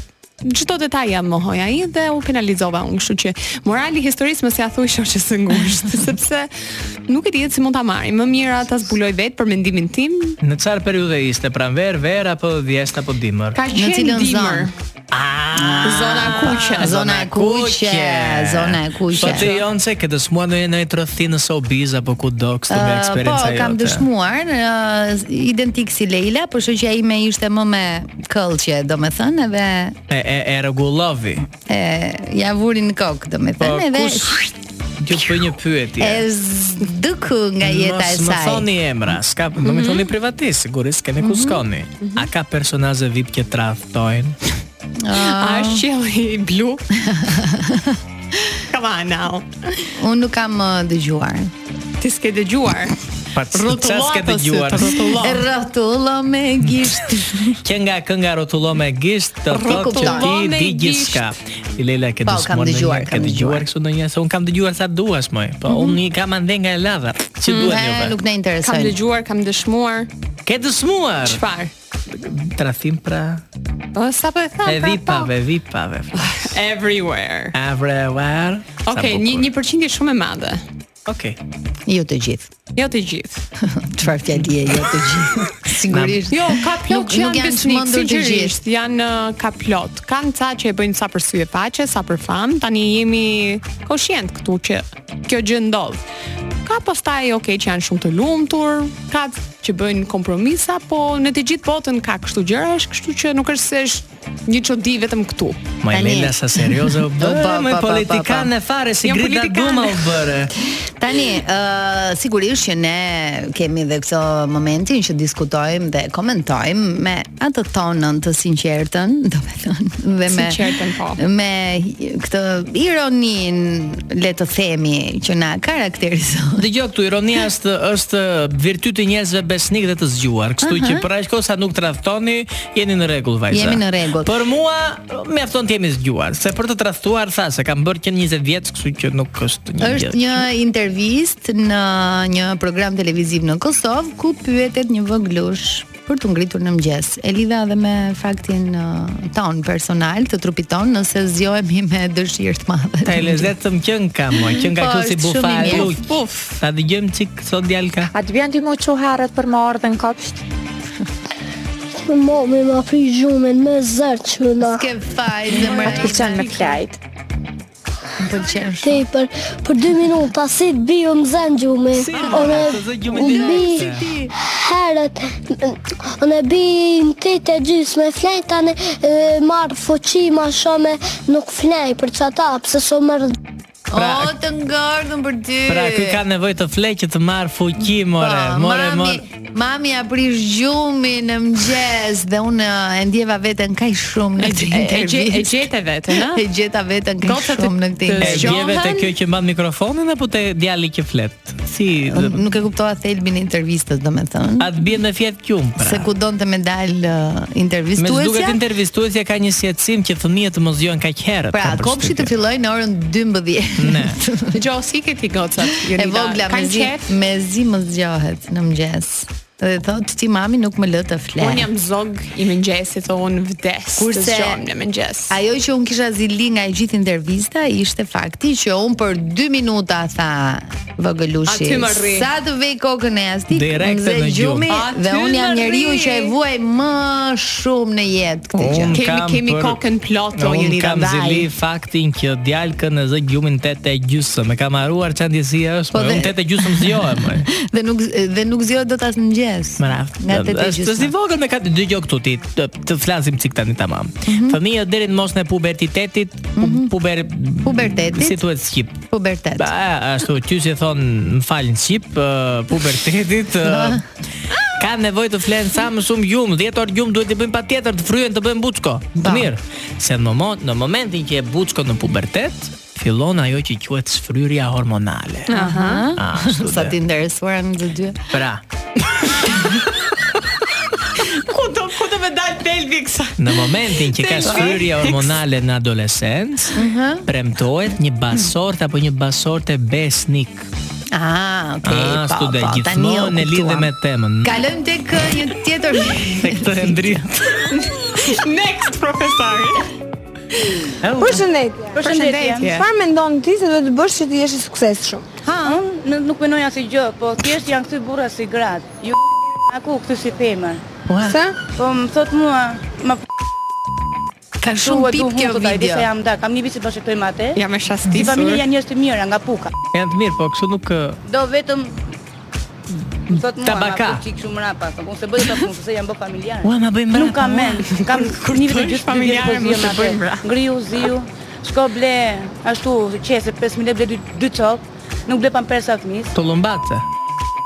çdo detaj ja mohoi ai dhe u penalizova unë, kështu që morali i historisë mos ja thuj shoqës së ngushtë sepse nuk e dihet si mund ta marrim. Më mirë ata zbuloj vetë për mendimin tim. Në çfarë periudhe ishte? Pranverë, verë apo dhjeshtë apo dimër? Ka Në qenë cilën dimër. zonë? Ah, Zona e kuqe. Zona e kuqe, zona e kuqe. Po ti jonë se ke dëshmuar në në trodhti në showbiz apo po ku do kështu me Ë, po, eksperiencë jote. kam dëshmuar, uh, identik si Leila, por shoqja ime ishte më me këllqje, domethënë, edhe E e, e rregullovi. e ja vurin në kokë, Po domethënë, edhe kush Ju të bëj një pyetje. e zduk nga jeta e Mos më saj. Mhm. thoni emra, s'ka, mm më thoni privatisht, sigurisht keni ku skoni. A ka personazhe VIP që tradhtojnë? A është qielli i blu? Come on now. Unë nuk kam uh, dëgjuar. Ti s'ke dëgjuar. Pa çfarë ke dëgjuar? [LAUGHS] E rrotullo me gisht. Që nga kënga rrotullo me gisht, të thotë që ti Rrotullo me di gjithçka. I Lela ke Po, dëshmuar kam ndonjë- dëgjuar, ke kam dëgjuar dëgjuar. Mhm. kështu ndonjë se un kam dëgjuar sa duash moj. Po unë i kam ande nga e ladha. Çi [LAUGHS] duhet Ne, juve? Nuk ne Kam intereson. dëgjuar, kam dëshmuar. Ke dëshmuar. Çfarë? Trathim pra Po sa po e tham. e pra, vipave, vipave. po. Everywhere. Everywhere. Sa Okej, bukur. një një përqindje shumë e madhe. Okej. Jo të gjithë. Jo të gjithë. Çfarë fjali e jo të [LAUGHS] gjithë. Sigurisht. Jo, ka plot Nuk- nuk që janë janë besnik, çmendur të sinqerisht, janë uh, ka plot. Kanë ca që e bëjnë sa për sy e faqe, sa për fam. Tani jemi koshient këtu që kjo gjë ndodh. Ka pastaj okay që janë shumë të lumtur, ka që bëjnë kompromisa, po në të gjithë botën ka kështu gjërash, kështu që nuk është se është një çudi vetëm [LAUGHS] këtu. Ma e Tani- Lela sa serioze u [LAUGHS] Po, po, bërë, me po, po, po, politikan e fare, si Jam grita politikan. duma u bërë. [LAUGHS] Tani, ë sigurisht që ne kemi dhe këto momentin që diskutojmë dhe komentojmë me atë tonën të sinqertën, [LAUGHS] domethënë, dhe me Sinqertën, po. me këtë ironin, le të themi, që na karakterizon. Dëgjoj këtu ironia është është virtyti i njerëzve besnik dhe të zgjuar, kështu që për aq kohë sa nuk tradhtoni, jeni në rregull vajza. Jemi në rregull. Për mua mjafton të jemi zgjuar, se për të tradhtuar tha se kam bërë 120 vjeç, kështu që nuk është një Është gjë. një intervistë në një program televiziv në Kosovë ku pyetet një vogëlush për të ngritur në mëngjes. E lidha edhe me faktin ë, ton personal të trupit ton nëse zgjohemi me dëshirë të madhe. Ta e lezetëm që në kam, moj, që nga Po, kjo si është shumë i bufa e mirë. luq. Puf, ta dëgjojmë çik sot djalka. A të bjen ti mu që herët për më ardhen kopsht? Mo, me ma pri gjumen, me zërë që na Ske faj zemra. A të pëlqen me flajt? Më pëlqen shumë. Te për, për 2 minuta, si të biju më zënë gjumen One unë bi herët Unë bi në të të gjysë me flej Tane marë foqi ma shome Nuk flej për çata Pse so mërë Pra- o të ngordhën për ty. Pra ky ka nevojë të fleqë të marr fuqi, more, Po, more, mami, more. Mami ja prish gjumin në mëngjes dhe unë e ndjeva veten kaq shumë në këtë E gje- e intervistë. gjete veten, E ë? gjeta veten kaq Gocat e- shumë në këtë të E intervistë. zgjohen? djeve te kjo që mban mikrofonin apo te djali që flet? Si Unë Nuk e kuptova thelbin e intervistës, domethënë. atë bie me fjet qum pra. Se ku donte me dal uh, Me duket intervistuesja. intervistuesja ka një sjellësim që fëmijët mos zgjohen kaq herët. Pra, kam kopshi të përshtypjen. filloi në orën 12. Ne. Dëgjoj si ke ti gocat. [LAUGHS] E vogla me zi, me zi më zgjohet në mëngjes. Dhe thotë ti mami nuk më lë të flet. Un jam zog i mëngjesit, un vdes. Kurse- Kurse zgjon në mëngjes. Ajo që unë kisha zili nga e gjithë intervista ishte fakti që unë për 2 minuta tha Vogëlushi, Aty më rri. sa të vej kokën e astik, Direkte nxe në gjumi gjumë. Aty dhe unë jam më njeriu rri. që e vuaj më shumë në jetë këtë gjë. Unë Kemi- kam kemi kokën plot, o, Unë Jonida, Kam ndaj. zili faktin që djalkën e zë gjumin 8 e gjysmë. E kam harruar çfarë ndjesia është. Po Po dhe- unë 8 e gjysmë zgjohem. [LAUGHS] mo. Dhe nuk dhe nuk zgjohet dot as në mëngjes. Më radh. Nga tetë Është- Është i gjysmë. vogël me ka të dëgjoj këtu ti. Të, të flasim cik tani tamam. Mhm. Fëmijët deri në mosën e pubertitetit, pu, puber Pubertetit. si thuhet skip. Pubertet. Ba, ashtu, ty si thon, më fal në shqip, ë, pubertetit, ë, ka nevojë të flenë sa më shumë gjumë, 10 orë gjumë duhet të bëjmë patjetër të fryhen të bëjmë buçko. Ba. Mirë, se në moment, në momentin që e buçko në pubertet, fillon ajo që quhet sfryrja hormonale. Aha. Ah, ashtu Sa dhe. ti interesuara në të dy. Pra, ku do ku do me dal pelvi kësa? në momentin që ka sfryrja hormonale në adolescencë, Mhm. premtohet një basort apo një basorte besnik. Ah, okay, Ah, po, ashtu dhe po, tani e gjithmonë në lidhje kuptuam. me temën. Kalojmë tek uh, një tjetër Te [LAUGHS] këtë e ndrit. Next profesor. Përshëndetje. Përshëndetje. Çfarë mendon ti se do të bësh që ti jesh i suksesshëm? Unë nuk menoj asë gjë Po thjesht janë këty burra si gratë Ju [LAUGHS] aku këtu si pemër Pse? Po më thot mua Ma Ka shumë pip kjo video. jam da Kam një bici bashkëtojmë atë Jam e shastisur. janë njerëz të mirë nga puka Janë të mirë, po kështu nuk ë, Do vetëm Thot mua, Tabaka. ma çik shumë mrapa, thot, unë se bëj ta punë, se jam bë familjar. Ua, ma bëjmë Nuk mbrapa, kam ua. mend, kam [LAUGHS] Kur një vit të e jesh gjysmë familjare, po mos zihem e bëjmë pra. atë. mra. Griu, ziu, shko ble ashtu qese 5000 lekë ble dy dy çop, nuk ble pampersa fëmis. Të lëmbate.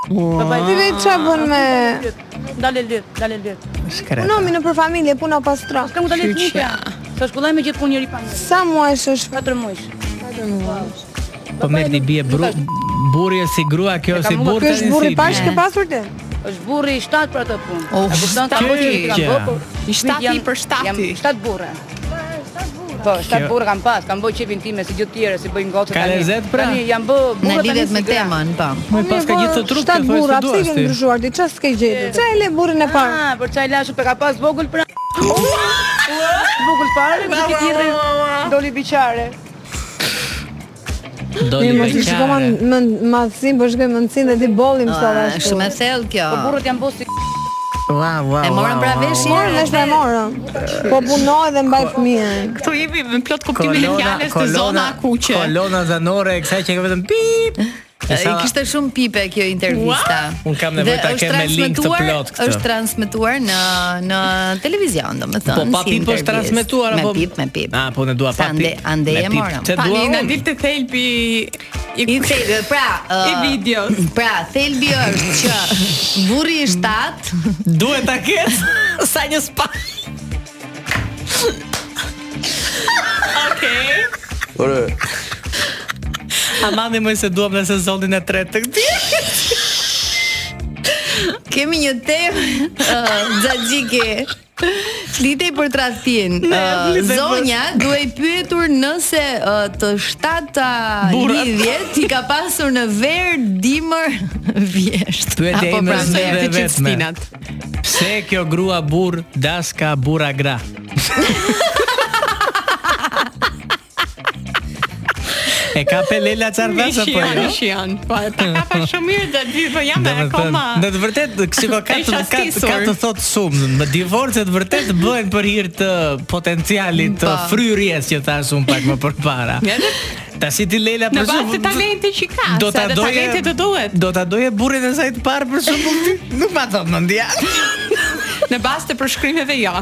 Po bëj Ti vetë çfarë bën me lyp, dalë lyp, dalë lyp. Shkret. punomi në për familje, puna pastro. S'kam dalë lyp. Sa shkolloj me gjithë punë njëri pa njëri. Sa muajsh është? 4 muajsh. 4 muajsh. Po po merr di bie bru, burri e si grua kjo si burr Ky është burri pash e. ke pasur ti? Është burri i shtatë për atë punë. Oh, E kupton ta shtatë. bëj që kam bërë. I shtati Jam- për shtati. Jam shtatë burre. Po, shtatë Kjo- burre kam pas, kam bërë qepin time si gjithë tjerë, si bëjnë gocë Ka tani. lezet, pra? Tani jam bë Në burra lidhet me temën, po. Po pas ka gjithë të trup të Shtat thoj burra, se pse duash ke ti. ndryshuar ti? Çfarë s'ke gjetur? Çe e le burrin e parë? Ah, për çaj lashu pe ka pas vogël pra. Vogël fare, ku ti tjetrin doli biçare. Do Ne di mos i shikoma veçare. më madhsin, po shkoj mendsin dhe ti bollim sa Ah, dash. Shumë e thellë kjo. Po burrat janë bosi. Ua ua. E morën pra vesh Morë herë. dhe është e morën. Po punoj dhe mbaj fëmijën. Këtu jemi në plot kuptimin e fjalës të zona kuqe. Kolona zanore, e kësaj që ka vetëm pip. E I sa- kishte shumë pipe kjo intervista. Unë kam nevojë Dhe ta është kem me link të transmetuar- plot këtë. Është transmetuar në në televizion, domethënë. Po, pa si pip është intervistë. transmetuar, me apo- pip, me pip. Ah, po, ne dua Sa pa ande- pip. Ande Me e pip. morëm. Çe Pa, dua Tani na unë. dilte thelbi i I thej, pra, ë, i videos. Pra, thelbi është që [LAUGHS] burri i shtat [LAUGHS] Duhet ta ketë sa një spa. Okej. Ore, [LAUGHS] Amani më se duam në sezonin e tretë të këtij. kemi një [LAUGHS] temë ë, xhaxhike. Flitej për tradhtin. Ë, flitej për- Zonja duhej pyetur nëse ë, të shtata Burrat. lidhjet i ka pasur në verë, dimër, [LAUGHS] vjesht. Pyetja Apo pra, ime pranverë. është Pse Dhe ti vetme. çiftinat? Pse kjo grua burr das ka burra gra? E ka pelela çardhas apo jo? Shion, po e ta [LAUGHS] ka pa shumë mirë dhe di, po jam e akoma. në të vërtet ksiko ka E të ka, shastisur. ka të thotë shumë. Më divorcet vërtet bëhen për hir të potencialit të Po. fryrjes që thash un pak më përpara. Edhe Tash ti Leila Në për bazë të shembull, talentit që ka, do se ta edhe doje talenti të duhet. Do ta doje burrin e saj të parë për shembull ti. Nuk ma thot mendja. Në bazë të përshkrimeve [LAUGHS] jo.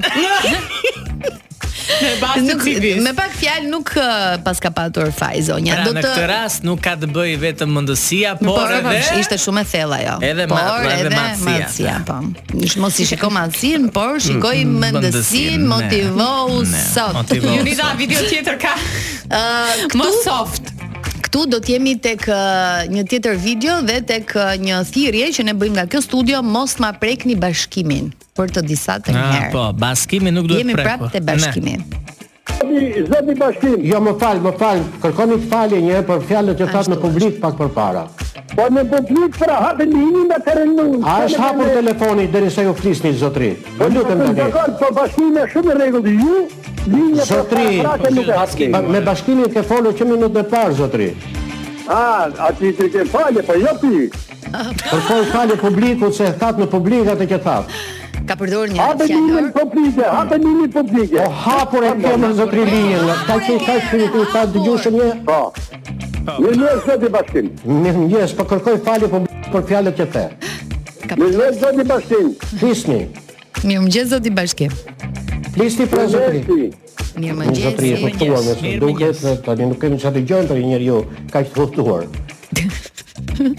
Në bazë të Nuk, civis. me pak fjalë nuk ë, pas ka patur faj zonja. Pra, në këtë rast nuk ka të bëj vetëm mendësia, por por edhe ishte shumë e thella ajo. Edhe ma- por edhe edhe madhësia. Mm, madhësia, po. Ish- Mos i shiko madhësin, por shikoj mendësin, ne. motivohu Ne, sot. Uh, [LAUGHS] motivohu. Ju nida video tjetër ka Ë, më këtu soft. Këtu do të jemi tek ë, një tjetër video dhe tek ë, një thirrje që ne bëjmë nga kjo studio mos ma prekni bashkimin për të disa të Ah, njëherë. po, bashkimi nuk duhet po. Jemi prekur. prapë te bashkimi. Zoti bashkim. Jo, më fal, më fal. Kërkoni të falje një herë për fjalët që thatë në publik pak përpara. Po në publik pra hapë lini me të rënu. A është hapur telefoni derisa ju flisni zotri? Po lutem tani. Dakor, po bashkimi është shumë në rregull ju. Linja për Zotri. para që nuk e hapni. Ba- Me bashkimin ke folur që minutën e parë zotri. Ah, aty ti ke falje, po jo pi. Kërkoj falje publikut se thatë në publik atë që thatë. Ka përdorur një Hapë lini fjalë. publike, hapë lini publike. Po hapur e kemë zotri linjën. Ka që ka që ti ta dëgjushën një Po. Mirë mirë zoti bashkim. mirë njës, po kërkoj falje publik për fjalët që the. Mirë mirë zoti bashkim. Flisni. Mirëmëngjes zoti bashkim. Flisni pra zotri. Zoti. Në zotri e Mirëmëngjes. kuptuar me së mirë duket, dhe tani nuk kemi çfarë dëgjojmë për një njeriu kaq të kuptuar.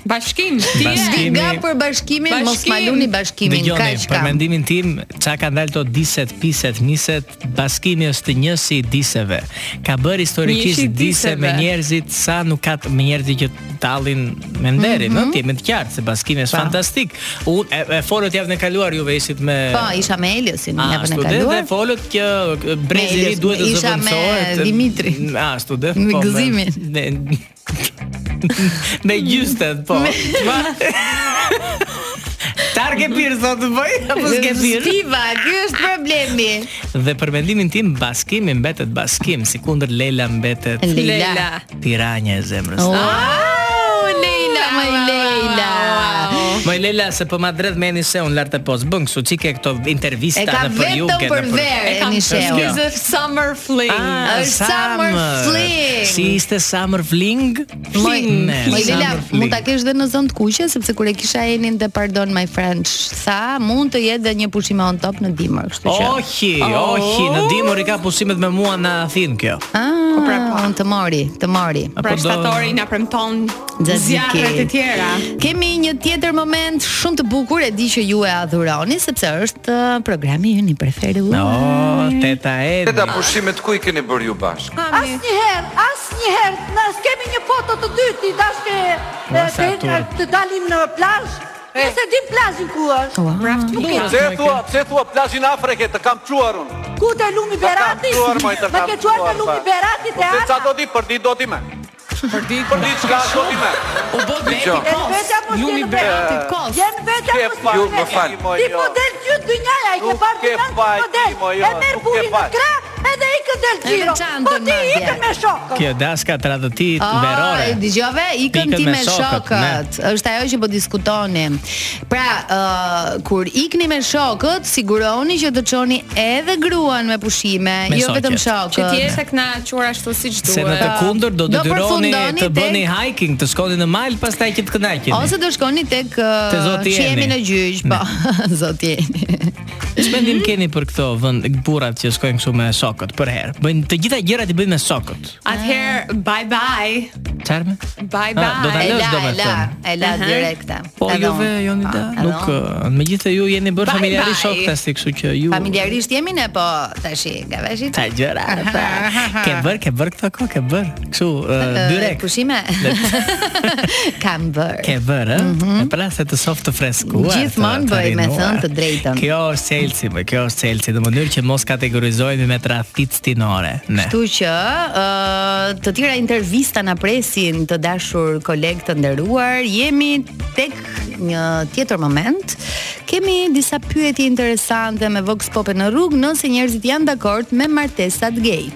Bashkim, ti je. Bashkim. Nga për bashkimin Bashkim. mos ma luni bashkimin, kaq për kam. mendimin tim, çka ka dalë to diset, piset, miset, bashkimi është njësi i diseve. Ka bërë historikisht Njësi i dise me diseve. njerëzit sa nuk ka të- me njerëzit që tallin me nderin, Mhm. mm -hmm. jemi të qartë se bashkimi është fantastik. Unë e, e folët javën e kaluar juve ishit me Po, isha me Eliosin A, javën e student kaluar. dhe folët që kë, brezi i ri Elios, duhet të isha me zëvendësohet. Dimitrin. A, student. Me po, gëzimin. Me, me gjysten, po. Ma- Tar ke pirë sot të bëj apo s'ke pirë? Stiva, ky është problemi. Dhe për mendimin tim baskimi mbetet baskim, sikundër Leila mbetet Leila. Tiranja e zemrës. Oh, Oh. Leila, my Leila. Moj Leila se po ma drejt meni se un lart e pos bën, kështu çike këto intervista E ka në për ju vetëm ke për në verë, E e kam Misheu. Kjo. shkizë summer fling. Ah, Është summer fling. Si ishte summer fling? Moj, Ne, moj Leila, summer fling. mund ta kesh dhe në zonë të kuqe sepse kur e kisha enin te Pardon My French, tha, mund të jetë dhe një pushim on top në dimër, kështu që. Ohi, ohi, në dimër i ka pusimet me mua në Athinë kjo. Po Ah, unë të mori, të mori. Pra Apo po do- shtatori na premton Zaziki. zjarret e tjera. Kemi një tjetër moment shumë të bukur, e di që ju e adhuroni sepse është uh, programi ynë i preferuar. No, teta e. pushimet ku i keni bërë ju bashkë? Kami. Asnjëherë, asnjëherë njëherë, na s'kemi një foto të dytë, i dashke Ua, e, sa të, turp. të dalim në plazh. Eh. Ne se dim plazhin ku është. Pra, Braft nuk Pse e thua, pse e thua plazhin Afrike të kam çuar unë. Ku te lumi Të kam Berati? çuar, moj, të Ma kam ke çuar te çuar, lumi pa. Berati Po te se ana? ça do ti për ditë do ti më. Për ditë për ditë çka do ti më. U bë E vetja po si në Beratit kos. Jem vetja po si Ju në më fal. Ti po del gjytë dynjaja, i ke parë ke dynjan, faj, po del. Timo, jo, E merr nuk ke burin në faj. krah, edhe ikën del Edhe gjiro. çantën Po ti madje. ikën me shokën. Kjo daska tradhëti Ah, verore. e dëgjove, ikën Ikën ti me me shokët, shokët. Është ajo që po diskutonim. Pra, ë, kur ikni me shokët, siguroni që të çoni edhe gruan me pushime, Me jo vetëm shoqet. shokët. Që ti tek na quar ashtu siç duhet. Se në të kundër do detyroni të përfundoni bëni hiking, të shkoni në mal, pastaj që të kënaqeni. Ose do shkoni tek Te ë, zoti që jemi jeni. në gjyq, po, [LAUGHS] zoti jeni. Çmendim keni për këto vend burrat që shkojnë kështu me shokët për herë. Bëjnë të gjitha gjërat i bëjnë me shokët. Atëherë bye bye. Çfarë? Bye bye. Ah, do ta Eh, lësh domethënë. e la Aha. direkte. Po Edhe juve unë. jonida, Po, edhe nuk unë. ë, megjithë ju jeni bërë Bye, familjarisht bye. shokë tasti, kështu që ju Familjarisht jemi ne, po tash ka vesh Ta Pra, gjëra. ta- Ke bër, ke bër këto kohë, ke bër. Kështu ë, direkt. Pushime. [LAUGHS] Kam bër. Ke bër, ë? E pra se të soft të freskuar. Mhm. Gjithmonë të- të bëj, me rinuar. thënë të drejtën. Kjo është Chelsea, më kjo është Chelsea, në mënyrë që mos kategorizojmë me tradhit stinore. Ne. Kështu që ë të tjera intervista na presin të dashur kolegë të nderuar. Jemi tek një tjetër moment. Kemi disa pyetje interesante me Vox Pop në rrugë nëse njerëzit janë dakord me martesat gay.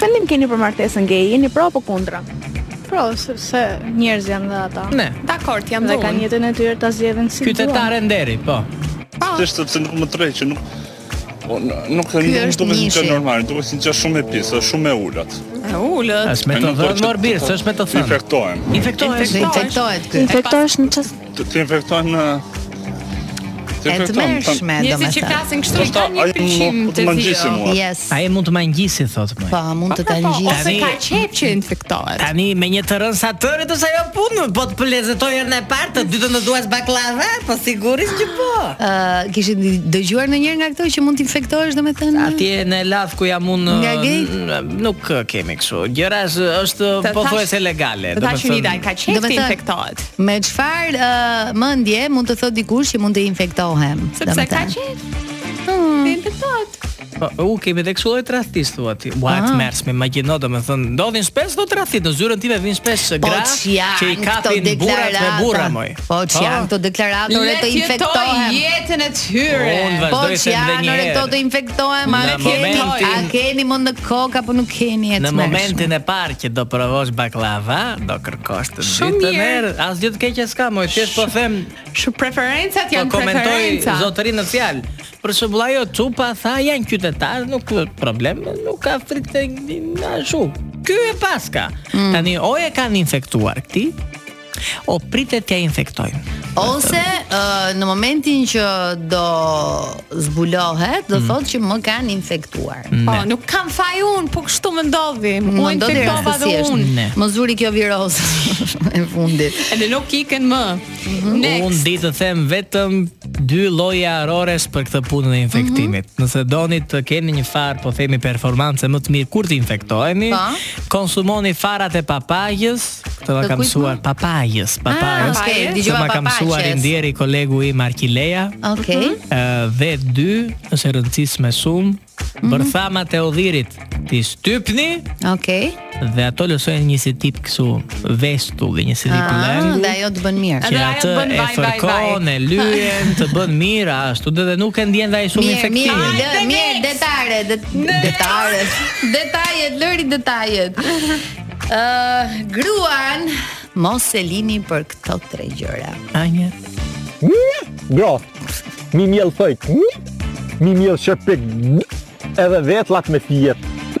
Mendim keni për martesën gay, jeni pro apo kundra? Pro, sepse njerëz janë dhe ata. Ne. Dakor, jam dhe dhe kanë unë. jetën e tyre ta zgjedhin si Qytetare nderi, po. Thjesht sepse nuk më trej që nuk po, n- nuk Ky nuk është duket një gjë nishi. normale, duket si gjë shumë e pisë, shumë e ulët. E ulët. Infektohem. Infektohet, infektohet ky. Infektohesh në çast. Të të infektohem në Të E të infektohem, mërshme, thënë- domethënë. Njerëzit që flasin kështu, i kanë një Ai përqim mund të të më ngjisi thjellë. mua. Yes. Ai mund të ma ngjisi thotë më. Po, mund të ta ngjisë. Ose ka qep që infektohet. Tani me një të rënë sa tëri të sajo punë, po të pëlezetoj herën e parë, të dytën do duash baklava, po sigurisht që po. Ë kishit dëgjuar ndonjëherë nga këto që mund të infektohesh domethënë? Atje në Elat ku jam unë Nga gay? n- nuk eh, kemi kështu. Gjëra është- është Të Po, thash- pothuajse legale, të thash domethënë- një dal, ka qenë Domethënë- të infektohet. Me çfarë uh, mendje mund të thot dikush që mund të infektohem? Sepse ka qep. Hmm. Infektohet. Po, u kemi edhe kështu lloj tradhtis thua ti. Ua, Ah. të mërshme, magjino, domethënë ndodhin shpesh do tradhtit, në zyrën time vin shpesh Po gra ç'janë që i kapin këto burrat me burra deklarata? moj. Po ç'janë këto deklaratore të infektohem? jetën e tyre. Unë vazhdoj Po se ç'janë ndë një ore herë. këto të infektohem? A Në keni, momentin- a keni mund në kokë apo nuk keni e Në të momentin e parë që do provosh baklava, do kërkosh të Shumë dytën mirë. herë. Asgjë të keqe s'ka, moj, thjesht po them, Shë preferencat po janë komentoj preferenca. zotërin në fjalë. Për shembull ajo çupa tha janë qytetarë, nuk problem, nuk ka frikë na shu. Ky e paska. Mm. Tani o e kanë infektuar këti, o pritet t'ja infektojnë. Ose ë, në momentin që do zbulohet, Mm. do thotë që më kanë infektuar. Po, nuk kam faj unë, po kështu më ndodhi. U Më ndodhi infektova dhe rastësisht. unë. Më zuri kjo virus [LAUGHS] e fundit. Edhe nuk ikën më. Mhm. Unë di të them vetëm dy lloje arores për këtë punën e infektimit. Mhm. Nëse doni të keni një farë, po themi performancë më të mirë kur të infektoheni, Pa. konsumoni farat e papajës, këtë ma Po. Të ka kujt mësuar papajës, Ah, papajës. okay, Këtë dëgjova ma ka mësuar i papaqes. ndjeri kolegu im Arkileja. Okej. Ë, dhe dy, është e rëndësishme shumë, Mhm. bërthamat e odhirit ti shtypni Okej. dhe ato lësojnë një si tip kësu vestull, një si tip lëng Ah, Dhe ajo të bën mirë. që atë e fërkon, e lyen, të bën mirë ashtu, dhe, dhe nuk e ndjen dhe ai shumë Mirë, mirë, infektimin. lë, mirë, detare, det, [LAUGHS] detare. Detajet, lëri [LAUGHS] detajet. Ë, gruan mos e lini për këto tre gjëra. Anja. Bro, mi mjell thëjt, mi mjell shërpik, edhe vetlat me fijet.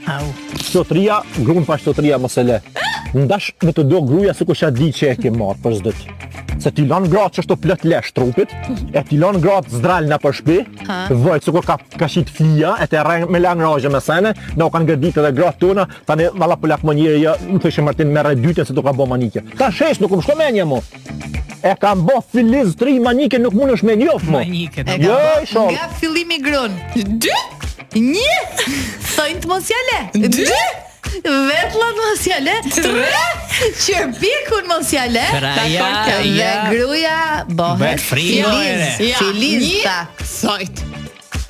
Au. Shtotria, grunë pa shtotria mos e le. Ndash me të do gruja se kusha di që e ke marrë për zdët. Se ti lanë gratë që është të plët lesh trupit, e ti lanë gratë zdralë në për shpi, Ha. vëjtë se kur ka, ka shit fija, e te rreng me lanë rajë me sene, në u kanë gëdit edhe gratë tona, tani valla po lakë më njëri, ja, më thëshë Martin me dytën se do ka bo manike. Ta shesh, nuk më shko menja mu. E kam bo filiz tri manike, nuk mund është me njof mu. Manike, E ka jo, bërë i shol. Nga fillimi grun. 2 1 Thonjë të mos jale. 2 Vetllat mos ja le. Tre. Qerpikun mos Pra, ja le. Kraja, Dhe ja. gruaja Bëhet bëhet frimo, ere. filiz, Ja, filista. Sojt.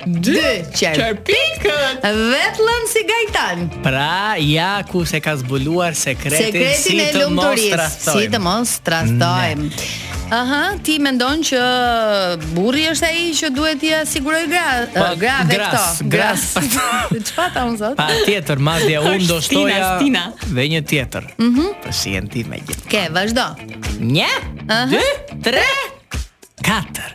Dy qerpik. Vetllan si Gajtan. Pra, ja ku se ka zbuluar sekretin, Sekretin si e të mos lumturisë, trahtojmë. si të mos trahtojmë. Aha, ti mendon që burri është ai që duhet t'i siguroj gra, eh, Po, grave gras, këto. gras. [LAUGHS] Çfarë ta unë zot? Pa tjetër, madje unë do Shtina, shtoja shtina. dhe një tjetër. Mhm. Për si janë ti me gjithë. Ke, vazhdo. Një, Aha. dy, tre, katër.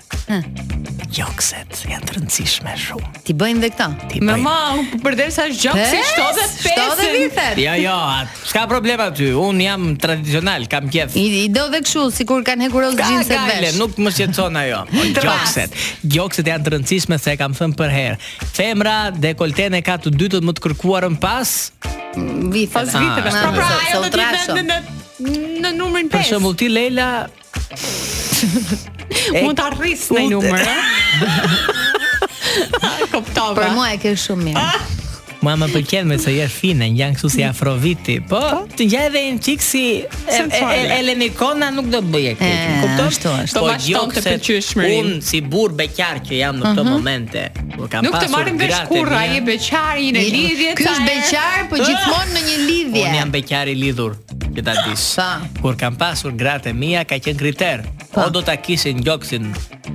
Jokset janë të rëndësishme shumë. Ti bëjnë dhe këta. Ti Me bëjnë. ma, përderisa është Po, gjokë si Pes, 75 vithet. Jo, jo, atë, s'ka problem aty. Unë jam tradicional, kam qef. I, i do dhe kështu sikur kanë hekuros gjinset gale, vesh. nuk më shqetëson [LAUGHS] ajo. Po, Tras. Gjokset. Gjokset janë të rëndësishme se e kam thënë për herë. Femra dekolten e ka të dytën më të kërkuarën pas viteve. Pas viteve. Po pra, ajo Ah, do të trashëm. jetë në në- në numrin 5. Për shembull ti Leila mund ta arris në një [LAUGHS] numër, ëh. Kuptova. Për mua e ke shumë mirë. Ah, Mua më pëlqen me se je fine, ngjan kështu si afroviti. Po, të ngjaj edhe një çik si e- e- e- Elenikona nuk do të bëje këtë. E, Kupton? ashtu është. Po Do vazhdon të gjokset, pëlqyeshmërinë. Unë si burr beqar që jam në këto Mhm. momente, po kam Nuk të pasur marrim vesh gratë kurrë, mia. ai e beqari në Mirë. lidhje. Ky është ca herë. beqar, po gjithmonë në një lidhje. Unë jam beqar i lidhur, që ta dish. Kur kam pasur gratë e mia, ka qenë kriter. O do ta kishin gjoksin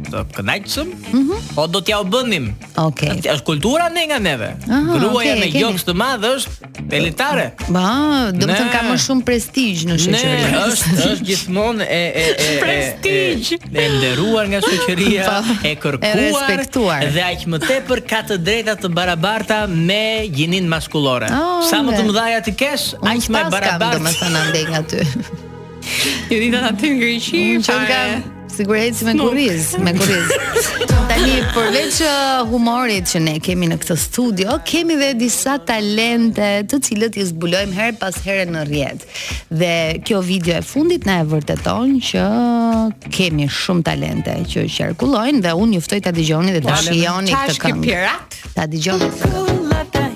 të kënaqshëm, o do t'ja u bënim. Okej. Është kultura ne nga neve. Aha, Gruaja okej, me keni. gjoks të madh është elitare. Ba, do të Ne. thënë ka më shumë prestigj në Ne, shoqëri. [LAUGHS] është është gjithmonë e e e prestigj e, e nderuar nga shoqëria, Po, e kërkuar, e respektuar. dhe aq më tepër ka të drejta të barabarta me gjinin maskullore. Oh, Sa më ore. të mëdha ti kesh, aq më barabart. Domethënë andej nga ty. Ju ditë aty në Greqi, Që fare. ka sigurisht me kurriz, me [LAUGHS] kurriz. Tani përveç uh, humorit që ne kemi në këtë studio, kemi dhe disa talente të cilët i zbulojmë her pas here në rrjet. Dhe kjo video e fundit na e vërteton që kemi shumë talente që qarkullojnë dhe unë ju ftoj ta dëgjoni dhe ta Falem. shihoni Qa këtë është ky këngë. pirat? Ta dëgjoni.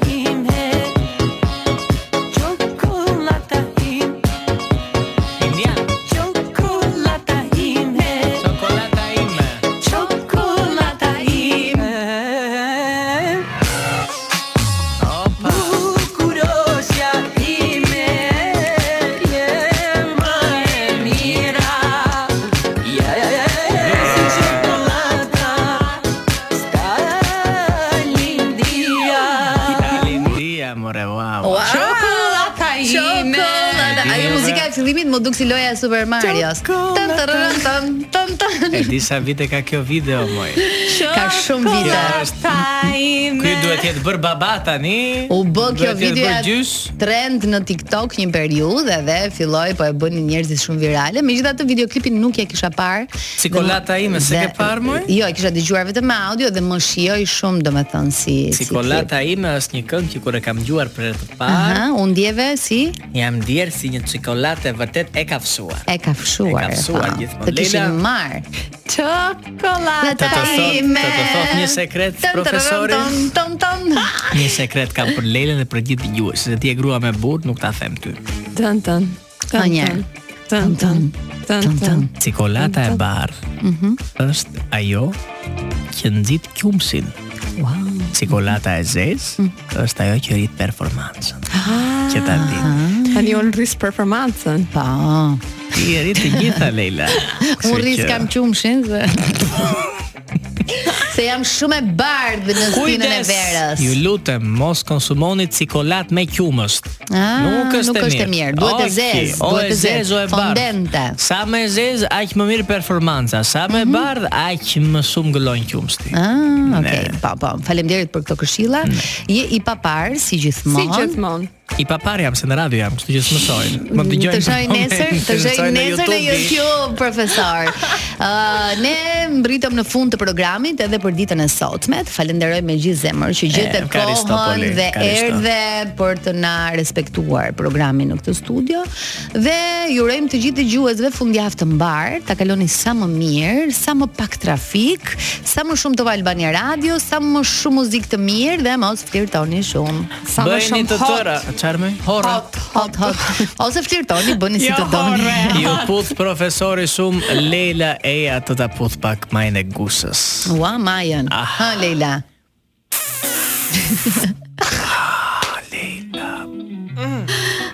Lindia, more wow. Wow! Çokollata ime. Çokollata. Ajo muzika e fillimit më duk si loja e Super Marios. Tan tararën, tan tan tan. E disa vite ka kjo video moj. Ka shumë vite. Ky duhet jetë bër baba tani. U bë kjo duhet jetë video bër gjys. trend në TikTok një periudhë dhe filloi po e bënin njerëzit shumë virale. Megjithatë videoklipin nuk e kisha parë. Si kolata ime, se Dhe- ke parë moj? Jo, e kisha dëgjuar vetëm me audio dhe më shijoj shumë domethënë si si klip. Cikolata ime është një këngë që kur e kam dëgjuar për herë të parë, Aha, u ndjeve si jam ndier si një cikolate vërtet e kafsuar. e ka fshuar. E ka fshuar pa. gjithmonë. Të kishin Leila- marr. Çokollata Të Të të thot, të të thot një sekret Tam, tam, profesori. tam, tam, tam. Një sekret kam për Lelen dhe për gjithë dëgjues, se ti e grua me burr, nuk ta them ty. Tan tan. Tan, tan. Tan tan. Tan tan. Cikolata e bardhë Mhm. është ajo që nxit qumsin. Wow. Mm. Cikolata e zezë është ajo që rrit performancën. Ah. Që ta di. Tani unë rris performancën. Pa. Ti e rrit të gjitha [LAUGHS] Leila. Kështu Unë rris që- kam qumshin [LAUGHS] se se jam shumë e bardhë në stinën e Kujdes! verës. Ju lutem mos konsumoni cikolat me qumësht. Ah, nuk është e mirë. Duhet e Okej, zezë, o duhet e e zezë, o zezë, e bardhë. fondente. Mhm. Sa më e zezë, aq më mirë performanca. Sa më e bardhë, aq më shumë gëllon qumshti. Ah, okay. Po, po. Faleminderit për këto këshilla. Je i papar si gjithmonë. Si gjithmonë. I papar jam se në radio jam, kështu që s'më shohin. Më dëgjojnë. Mm, Të shohin në moment, nesër, të shohin nesër në YouTube, profesor. [LAUGHS] Ë, ne mbritëm në fund të programit edhe për ditën e sotme. Të falenderoj me gjithë zemër që gjete E, karisto, kohën Poli, dhe karisto. erdhe për të na respektuar programin në këtë studio dhe ju urojmë të gjithë dëgjuesve fundjavë të mbar, ta kaloni sa më mirë, sa më pak trafik, sa më shumë Top Albania Radio, sa më shumë muzikë të mirë dhe mos flirtoni shumë. Bëjeni të tëra, Çfarë më? Horra. Hot, hot. [LAUGHS] Ose flirtoni, bëni si të doni. [LAUGHS] Ju puth profesori shumë Leila Eja të ta puth pak majën e gusës. Ua, Majën. Ha, Leila. [LAUGHS]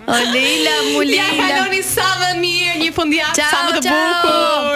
O Leila, mu Leila. Ja kaloni sa më mirë, një fundjavë sa më të Ciao, ciao. bukur.